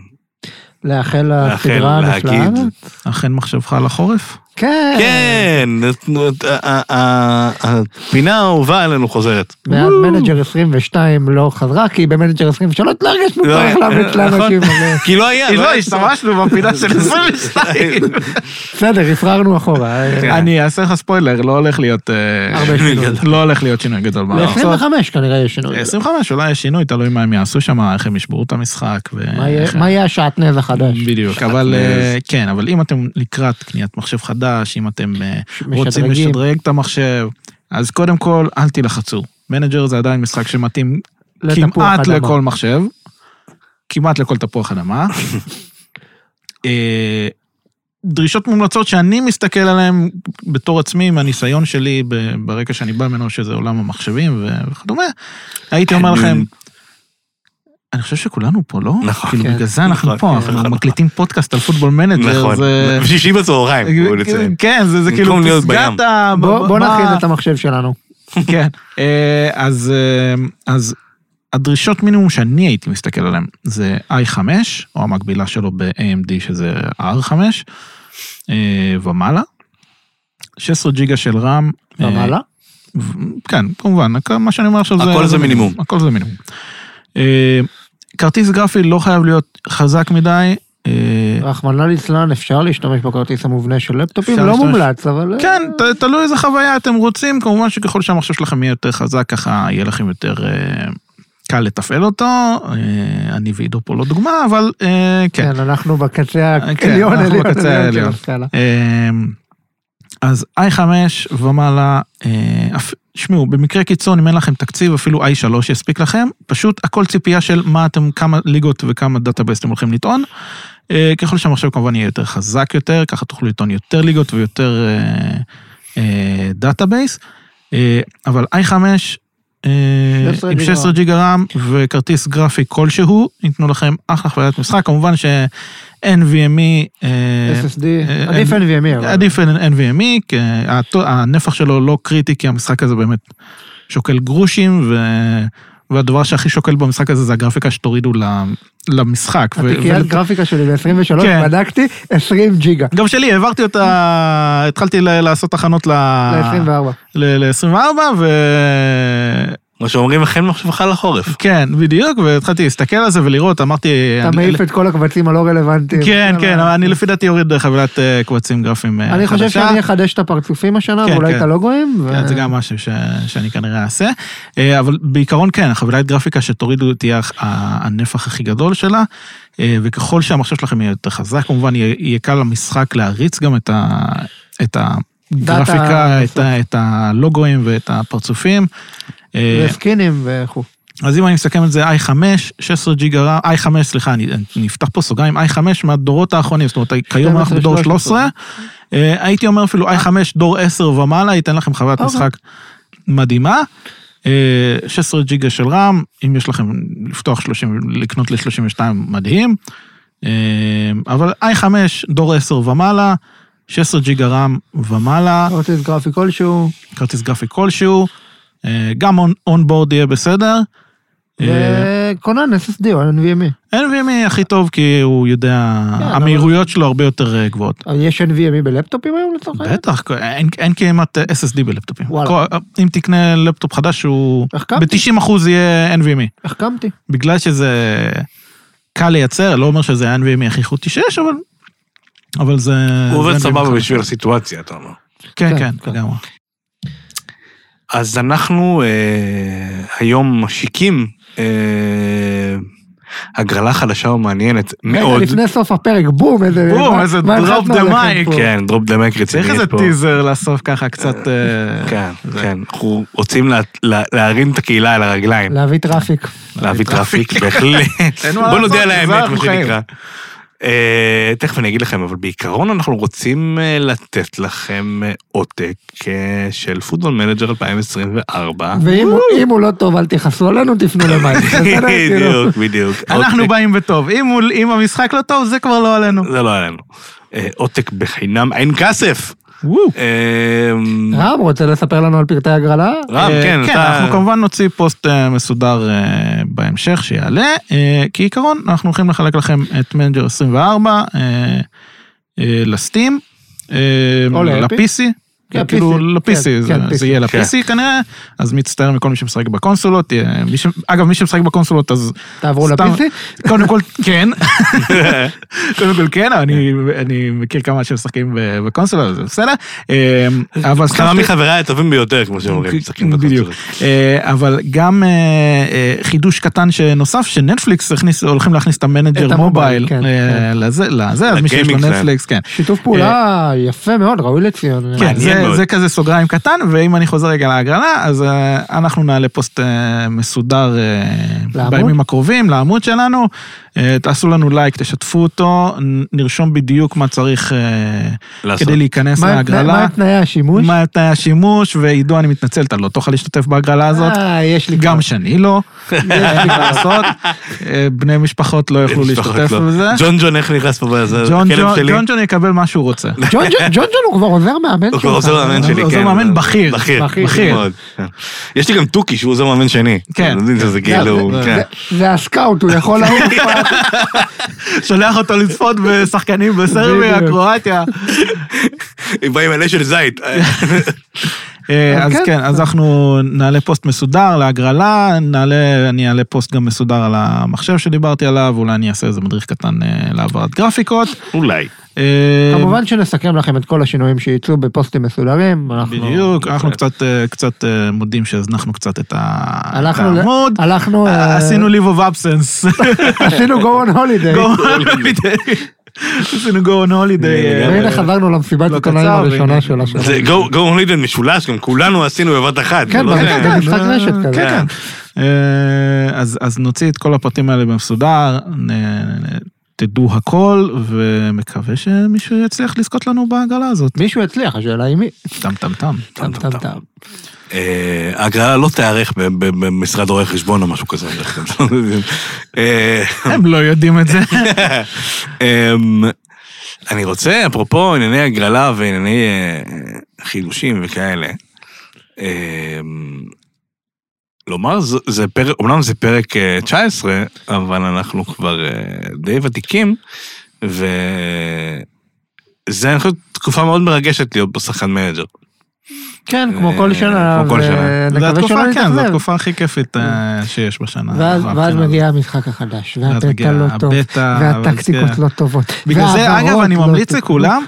לאחל לאחל, לסדרה הנפלאה להגיד? הזאת. אכן מחשבך על החורף? כן, כן, נתנו את ה- ה- ה- הפינה האהובה עלינו חוזרת. מאז מנג'ר 22 לא חזרה, כי במנג'ר 23 לא הרגשנו לא, צורך להמליץ נכון. לאנשים. אבל- כי לא היה, היה- השתמשנו בפינה של 22. בסדר, הפררנו אחורה. כן. אני אעשה לך ספוילר, לא הולך להיות... אה, הרבה שינוי. לא הולך להיות שינוי גדול במערכות. ל-25 כנראה יש שינוי. 25 אולי יש שינוי, תלוי מה הם יעשו שם, איך הם ישברו את המשחק. ו- מה יהיה- איך- מה יהיה השעטנז החדש? בדיוק, אבל אה, כן, אבל אם אתם לקראת קניית מחשב חדש, אם אתם אה, רוצים משדרגים. לשדרג את המחשב, אז קודם כל, אל תילחצו. מנג'ר זה עדיין משחק שמתאים לתפוח כמעט אדמה. לכל מחשב, כמעט לכל תפוח אדמה. אה, דרישות מומלצות שאני מסתכל עליהן בתור עצמי, מהניסיון שלי ב- ברקע שאני בא ממנו, שזה עולם המחשבים ו- וכדומה, הייתי אומר לכם, אני חושב שכולנו פה, לא? נכון. כאילו, כן. בגלל זה אנחנו נכון, פה, נכון, אנחנו נכון. מקליטים פודקאסט על פוטבול מנג'ר, נכון, זה... שישי בצהריים, בואו נציין. כן, זה זה כאילו במקום להיות פסגת בים. ה... בוא בוא ב- נכין את המחשב שלנו. כן, אה, אז, אה, אז הדרישות מינימום שאני הייתי מסתכל עליהן זה i5, או המקבילה שלו ב-AMD שזה R5, אה, ומעלה. 16 ג'יגה של רם. אה, ומעלה? ו- כן, כמובן, הכ- מה שאני אומר עכשיו זה... הכל זה מינימום. הכל זה מינימום. אה, כרטיס גרפי לא חייב להיות חזק מדי. אה, רחמנא ליצלן, אפשר להשתמש בכרטיס המובנה של לפטופים? אפשר לא להשתמש- מומלץ, אבל... כן, ת- תלוי איזה חוויה אתם רוצים, כמובן שככל שהמחשב שלכם יהיה יותר חזק, ככה יהיה לכם יותר אה, קל לתפעל אותו. אה, אני ועידו פה לא דוגמה, אבל אה, כן. כן, אנחנו בקצה אה, כן, העליון, אנחנו עליון, בקצה עליון של העליון. הסקאלה. אה, אז i5 ומעלה, אה, אפ- שמעו, במקרה קיצון, אם אין לכם תקציב, אפילו i3 יספיק לכם, פשוט הכל ציפייה של מה אתם, כמה ליגות וכמה דאטאבייס אתם הולכים לטעון. אה, ככל שהמחשב כמובן יהיה יותר חזק יותר, ככה תוכלו לטעון יותר ליגות ויותר אה, אה, דאטאבייס, אה, אבל i5 אה, 16 עם ג'יגה 16 ג'יגה רם וכרטיס גרפי כלשהו, ייתנו לכם אחלה חוויית משחק, כמובן ש-NVMe, אה, SSD, אה, עדיף אה, NVMe. אבל. עדיף NVMe, E, כי הת- הנפח שלו לא קריטי, כי המשחק הזה באמת שוקל גרושים, ו... והדבר שהכי שוקל במשחק הזה זה הגרפיקה שתורידו ל- למשחק. ו- התיקיית ול- גרפיקה שלי ב-23, כן. בדקתי, 20 ג'יגה. גם שלי, העברתי אותה, התחלתי ל- לעשות הכנות ל-24. כן, ל-24, ו... מה שאומרים, אכן מחשבך לחורף. כן, בדיוק, והתחלתי להסתכל על זה ולראות, אמרתי... אתה אני- מעיף את כל הקבצים הלא רלוונטיים. כן, אבל- כן, אבל אני לפי דעתי אוריד חבילת אה, קבצים גרפיים אה, חדשה. אני חושב שאני אחדש את הפרצופים השנה, כן, ואולי כן. את הלוגויים. ו- כן, זה גם משהו ש... שאני כנראה אעשה, אה, אבל בעיקרון כן, החבילת גרפיקה שתורידו תהיה הח- ה- הנפח הכי גדול שלה, אה, וככל שהמחשב שלכם יהיה יותר חזק, כמובן יהיה, יהיה קל למשחק להריץ גם את, ה... את הגרפיקה, את, ה... את הלוגוים ואת הפרצופים. אה, וסקינים וכו'. אז אם אני מסכם את זה, i5, 16 ג'יגה רם, i5, סליחה, אני, אני אפתח פה סוגריים, i5 מהדורות האחרונים, זאת אומרת, כיום אנחנו בדור 13, אה, הייתי אומר אפילו i5 דור 10 ומעלה, ייתן לכם חוויית אוקיי. משחק מדהימה. אה, 16 ג'יגה של רם, אם יש לכם לפתוח 30, לקנות ל-32, מדהים. אה, אבל i5 דור 10 ומעלה, 16 ג'יגה רם ומעלה, כרטיס גרפי כלשהו, כרטיס גרפי כלשהו, אה, גם אונבורד יהיה בסדר. אה, וקונן SSD או NVMe. NVMe הכי טוב כי הוא יודע, כן, המהירויות שלו הרבה יותר אה, גבוהות. אבל יש NVMe E בלפטופים היום לצורך העניין? בטח, אין, אין כמעט אה, SSD בלפטופים. אה. וואלה. כל- אה, אם תקנה לפטופ חדש הוא איך קמתי? ב-90% יהיה NVMe. החכמתי. E. בגלל שזה קל לייצר, לא אומר שזה NVMe הכי חוטי שיש, אבל... אבל זה... הוא עובד זה NVMe סבבה חדש. בשביל הסיטואציה, אתה אומר. E כן, כן, כן, כן. לגמרי. אז אנחנו אה, היום משיקים אה, הגרלה חדשה ומעניינת מאוד. רגע, לפני סוף הפרק, בום, איזה... בום, מה- איזה מה drop החלטנו the עליכם mic. פה? כן, דרופ דה מק רציני צריך איזה טיזר לאסוף ככה קצת... אה, כן, כן, אנחנו רוצים לה- לה- להרים את הקהילה על הרגליים, להביא טראפיק. אה, להביא טראפיק, בהחלט. אין מה בוא נודה לעשות, על זה האמת, אנחנו מה חיים. שנקרא. אה, תכף אני אגיד לכם, אבל בעיקרון אנחנו רוצים אה, לתת לכם אה, עותק אה, של פוטבול מנג'ר 2024. ואם הוא- אם הוא לא טוב, אל תכעסו עלינו, תפנו למאי. בסדר? כאילו, בדיוק, בדיוק. לא אנחנו עותק- באים בטוב. אם הוא- אם המשחק לא טוב, זה כבר לא עלינו. זה לא עלינו. אה, עותק בחינם, אין כסף! אה, רם, רוצה לספר לנו על פרטי הגרלה? רם, אה, כן, כן, אתה- אנחנו כמובן נוציא פוסט אה, מסודר אה, בהמשך שיעלה. אה, כעיקרון, אנחנו הולכים לחלק לכם את מנג'ר 24 אה, אה, לסטים. אה, או לאפי. ל-PC. כן, כאילו PC. כן, ל-PC, זה- כן, PC. זה יהיה ל-PC כנראה, אז מצטער מכל מי שמשחק בקונסולות. אה, מי ש- אגב, מי שמשחק בקונסולות אז תעברו סתם- לפיסי? קודם כל כן, קודם כל כן, אני, אני מכיר כמה שמשחקים ב- בקונסולה, אז זה בסדר. אה, אבל כמה מחבריי הטובים ביותר, כמו שאומרים, משחקים אוקיי, בדיוק. בקונסולות. אה, אבל גם אה, אה, חידוש קטן שנוסף, שנטפליקס הכניס- הולכים להכניס את את המנג'ר המובייל, מובייל כן, אה, לזה, לזה, אז מי שיש לו לגיימינג שלהם. נטפליקס, כן. שיתוף פעולה יפה מאוד, ראוי לציון. כן, מעניין זה, מאוד. זה כזה סוגריים קטן, ואם אני חוזר רגע להגרלה, אז אה, אנחנו נעלה פוסט אה, מסודר אה, לעמוד? בימים הקרובים לעמוד שלנו. אה, תעשו לנו לייק, תשתפו אותו, נ- נרשום בדיוק מה צריך אה, לעשות. כדי להיכנס מה- מה להגרלה, הם תנאי השימוש? מה תנאי השימוש, ועידו, אני מתנצל, אתה לא תוכל להשתתף בהגרלה הזאת. אה, יש לי גם כבר. שאני לא, אין לי מה לעשות, אה, בני משפחות לא יוכלו משפחות להשתתף לא. בזה. ג'ון ג'ון איך נכנס פה, בזה? ג'ון הכלב ג'ון שלי? ג'ון ג'ון יקבל מה שהוא רוצה. ג'ון ג'ון- ג'ון ג'ון הוא כבר עוזר מאמן הוא שלך. כבר עוזר מאמן שלי, כן. עוזר מאמן בכיר. בכיר, בכיר. בכיר. מאוד, כן. יש לי גם תוכי שהוא עוזר מאמן שני. כן. אתם יודעים שזה זה- כאילו, זה- כן. זה- זה הסקאוט, הוא יכול לעוף. שולח אותו לצפות בשחקנים בסרביה, בדיוק. קרואטיה. הם באים מלא של זית. אה, אז כן. כן, אז אנחנו נעלה פוסט מסודר להגרלה, נעלה, אני אעלה פוסט גם מסודר על המחשב שדיברתי עליו, אולי אני אעשה איזה מדריך קטן אה, להעברת גרפיקות. אולי. אה, כמובן שנסכם לכם את כל השינויים שייצאו בפוסטים מסודרים. אנחנו- בדיוק, אנחנו קצת אה, קצת אה, מודים שהזנחנו קצת את ה- את הלכנו, ל- העמוד. הלכנו, לא- אה, עשינו leave of absence. עשינו go on holiday. Go on holiday. עשינו go on holiday. uh, לגמרי. והנה חזרנו למסיבת לא עיתונאים קצר, הראשונה והנה- של השנה. זה go go on lead and משולש, גם כולנו עשינו בבת אחת. זה כן, לא בבת זה- אחת. משחק רשת כזה. כן, כן. אה, אז אז נוציא את כל הפרטים האלה במסודר, נ- נ- תדעו הכל, ומקווה שמישהו יצליח לזכות לנו בעגלה הזאת. מישהו יצליח, השאלה היא מי. טם טם טם. טם טם טם. אה, ההגרלה לא תיערך ב- ב- במשרד רואי חשבון או משהו כזה. אני יודע, אתם לא יודעים. אה, הם לא יודעים את זה. אמ, אני רוצה, אפרופו ענייני הגרלה וענייני אה, חידושים וכאלה, אמ, לומר, ז- זה פרק, אמנם זה פרק אה, 19, אבל אנחנו כבר אה, די ותיקים, וזה, אני חושב, תקופה מאוד מרגשת להיות פה שחקן מנג'ר. כן, כמו כל אה, שנה. כמו כל שנה. ונקווה זו אה, התקופה, שלא כן, זו נתאכזב. התקופה הכי כיפית אה, שיש בשנה. ואז- ואז מהבחינה מגיע המשחק החדש, ואז מגיע והבטא לא טוב, הבטא, אבל והטקטיקות זה- לא טובות. בגלל זה, אגב, וההעברות אני לא ממליץ טובות. לכולם,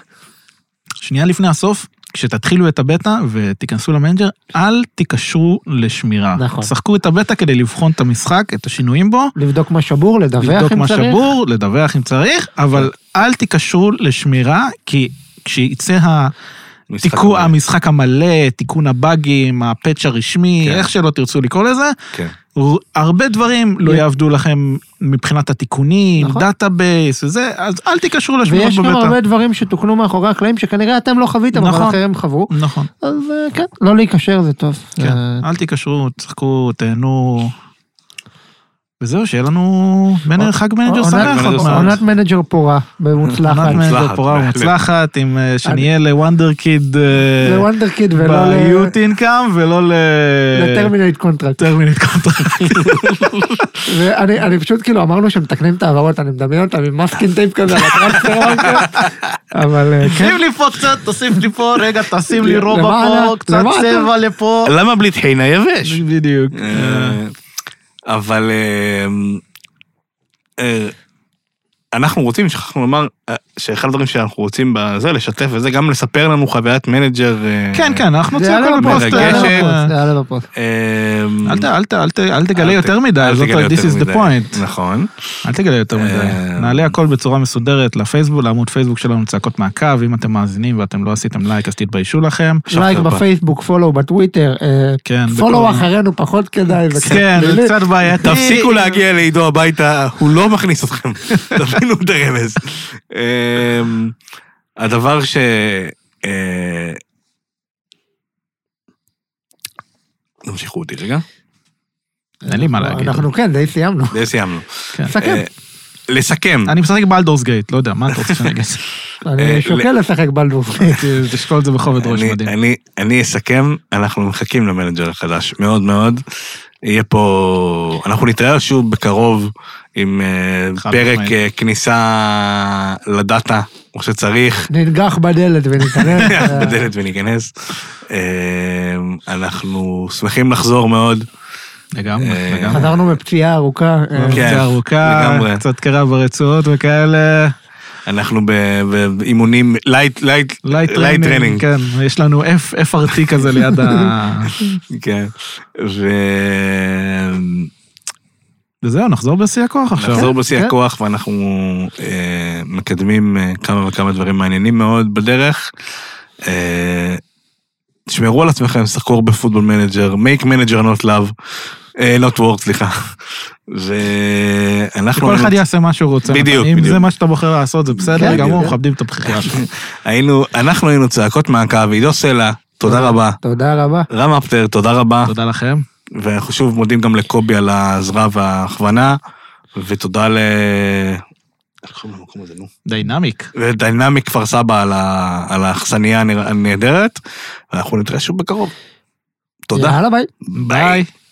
שנייה לפני הסוף, כשתתחילו את הבטא ותיכנסו למנג'ר, אל תיקשרו לשמירה. נכון. שחקו את הבטא כדי לבחון את המשחק, את השינויים בו, לבדוק מה שבור, לדווח לבדוק אם מה צריך. שבור, לדווח אם צריך, אבל אל תיקשרו לשמירה, כי כשיצא ה... משחק תיקון, מלא. המשחק המלא, תיקון הבאגים, הפאץ' הרשמי, כן. איך שלא תרצו לקרוא לזה, כן. ר- הרבה דברים לא י- יעבדו לכם מבחינת התיקונים, נכון. דאטאבייס וזה, אז אל תיקשרו לשמירות ויש בבטא. גם הרבה דברים שתוקנו מאחורי הקלעים שכנראה אתם לא חוויתם, אבל נכון. אחרים חוו. נכון. אז אה, כן, לא להיקשר זה טוב. כן, אה, אל תיקשרו, תשחקו, תהנו. וזהו, שיהיה לנו מנר חג מנג'ר אה, עונת- שמח. מנג'ר עוד שמח. מעט. עונת מנג'ר פורה ומוצלחת. עונת מנג'ר מוצלחת, פורה בהחלט. ומוצלחת, עם אה, שנהיה לוונדר קיד אה, לוונדר קיד ולא ל- ב-Youth Income ולא ל... לטרמינט קונטרקט. טרמינט קונטרקט. ואני אני פשוט כאילו אמרנו שמתקנים את ההעברות, אני מדמיין אותם עם מסקין טייפ כזה על הטרנספר, אבל אה, כן. תוסיף לי פה קצת, תוסיף לי פה, רגע, תשים לי רובע למעלה, פה, קצת למטה. צבע לפה. למה בלי טחינה יבש? בדיוק. אה, אבל אה, אה, אנחנו רוצים, שכחנו לומר, אה, שאחד הדברים שאנחנו רוצים בזה, לשתף וזה, גם לספר לנו חוויית מנג'ר. אה, כן, כן, אנחנו זה נוציא יעלה הכל בפוסט. בפוסט, זה יעלה מרגשת. בפוסט, זה אה, יעלה בפוסט. אה, אל ת- אל ת- אל ת- אל אל תגלה ת- יותר מדי, אל זאת תגלה ה- this יותר is the מדי. point. נכון. אל תגלה יותר מדי. אה, נעלה הכל בצורה מסודרת לפייסבוק, לעמוד פייסבוק שלנו, צעקות מהקו, אם אתם מאזינים ואתם לא עשיתם לייק אז תתביישו לכם. לייק הבא. בפייסבוק, פולו בטוויטר, אה, כן, פולו בכל- אחרינו פחות כדאי. זה כן, זה פלילי. קצת בעייתי. תפסיקו להגיע לעידו הביתה, הוא לא מכניס אתכם. תבינו את הרמז. אמ, הדבר ש... אה, תמשיכו אותי רגע, אין לי מה להגיד. אנחנו כן, די סיימנו. זה סיימנו. כן. סכם. אה, לסכם, אני משחק בלדורס גייט, לא יודע, מה אתה רוצה שאני אגיד? אה, אני שוקל לשחק בלדוף. תשקול את זה בכובד ראש, אני- מדהים. אני- אני אסכם, אנחנו מחכים למנג'ר החדש, מאוד מאוד. יהיה פה, אנחנו נתראה שוב בקרוב עם אה, חד פרק משמעית. אה, כניסה לדאטה, כמו שצריך. ננגח בדלת וניכנס. אה, בדלת וניכנס. אה, אנחנו שמחים לחזור מאוד. לגמרי, אה, לגמרי. חזרנו מפציעה ארוכה. אה, כן, זה ארוכה, לגמרי. קצת קרה ברצועות וכאלה. אנחנו ב- באימונים לייט לייט לייט לייט טרנינג, טרנינג. כן, יש לנו F- FRT כזה ליד ה... כן. ונחזור וזהו, נחזור בשיא הכוח עכשיו. בשיא כן. הכוח ואנחנו אה, מקדמים אה, כמה וכמה דברים מעניינים מאוד בדרך. אה, תשמרו על עצמכם, שחקו הרבה פוטבול מנג'ר, make manager not love, אה, not work, סליחה. ואנחנו... כן, כל היינו- אחד יעשה מה שהוא רוצה. בדיוק, אם בדיוק. זה מה שאתה בוחר לעשות, זה בסדר כן, גמור, בדיוק. מכבדים את הבחירה. כן. היינו, אנחנו היינו צעקות מעקב, עידו סלע, תודה רבה. תודה רבה. רם אפטר, תודה רבה. תודה לכם. ואנחנו שוב מודים גם לקובי על העזרה וההכוונה, ותודה ל... איך קוראים למקום הזה, נו? דיינמיק. ודיינמיק כפר סבא על ה- על האכסניה הנר- הנהדרת, ואנחנו נתראה שוב בקרוב. תודה. יאללה ביי. ביי.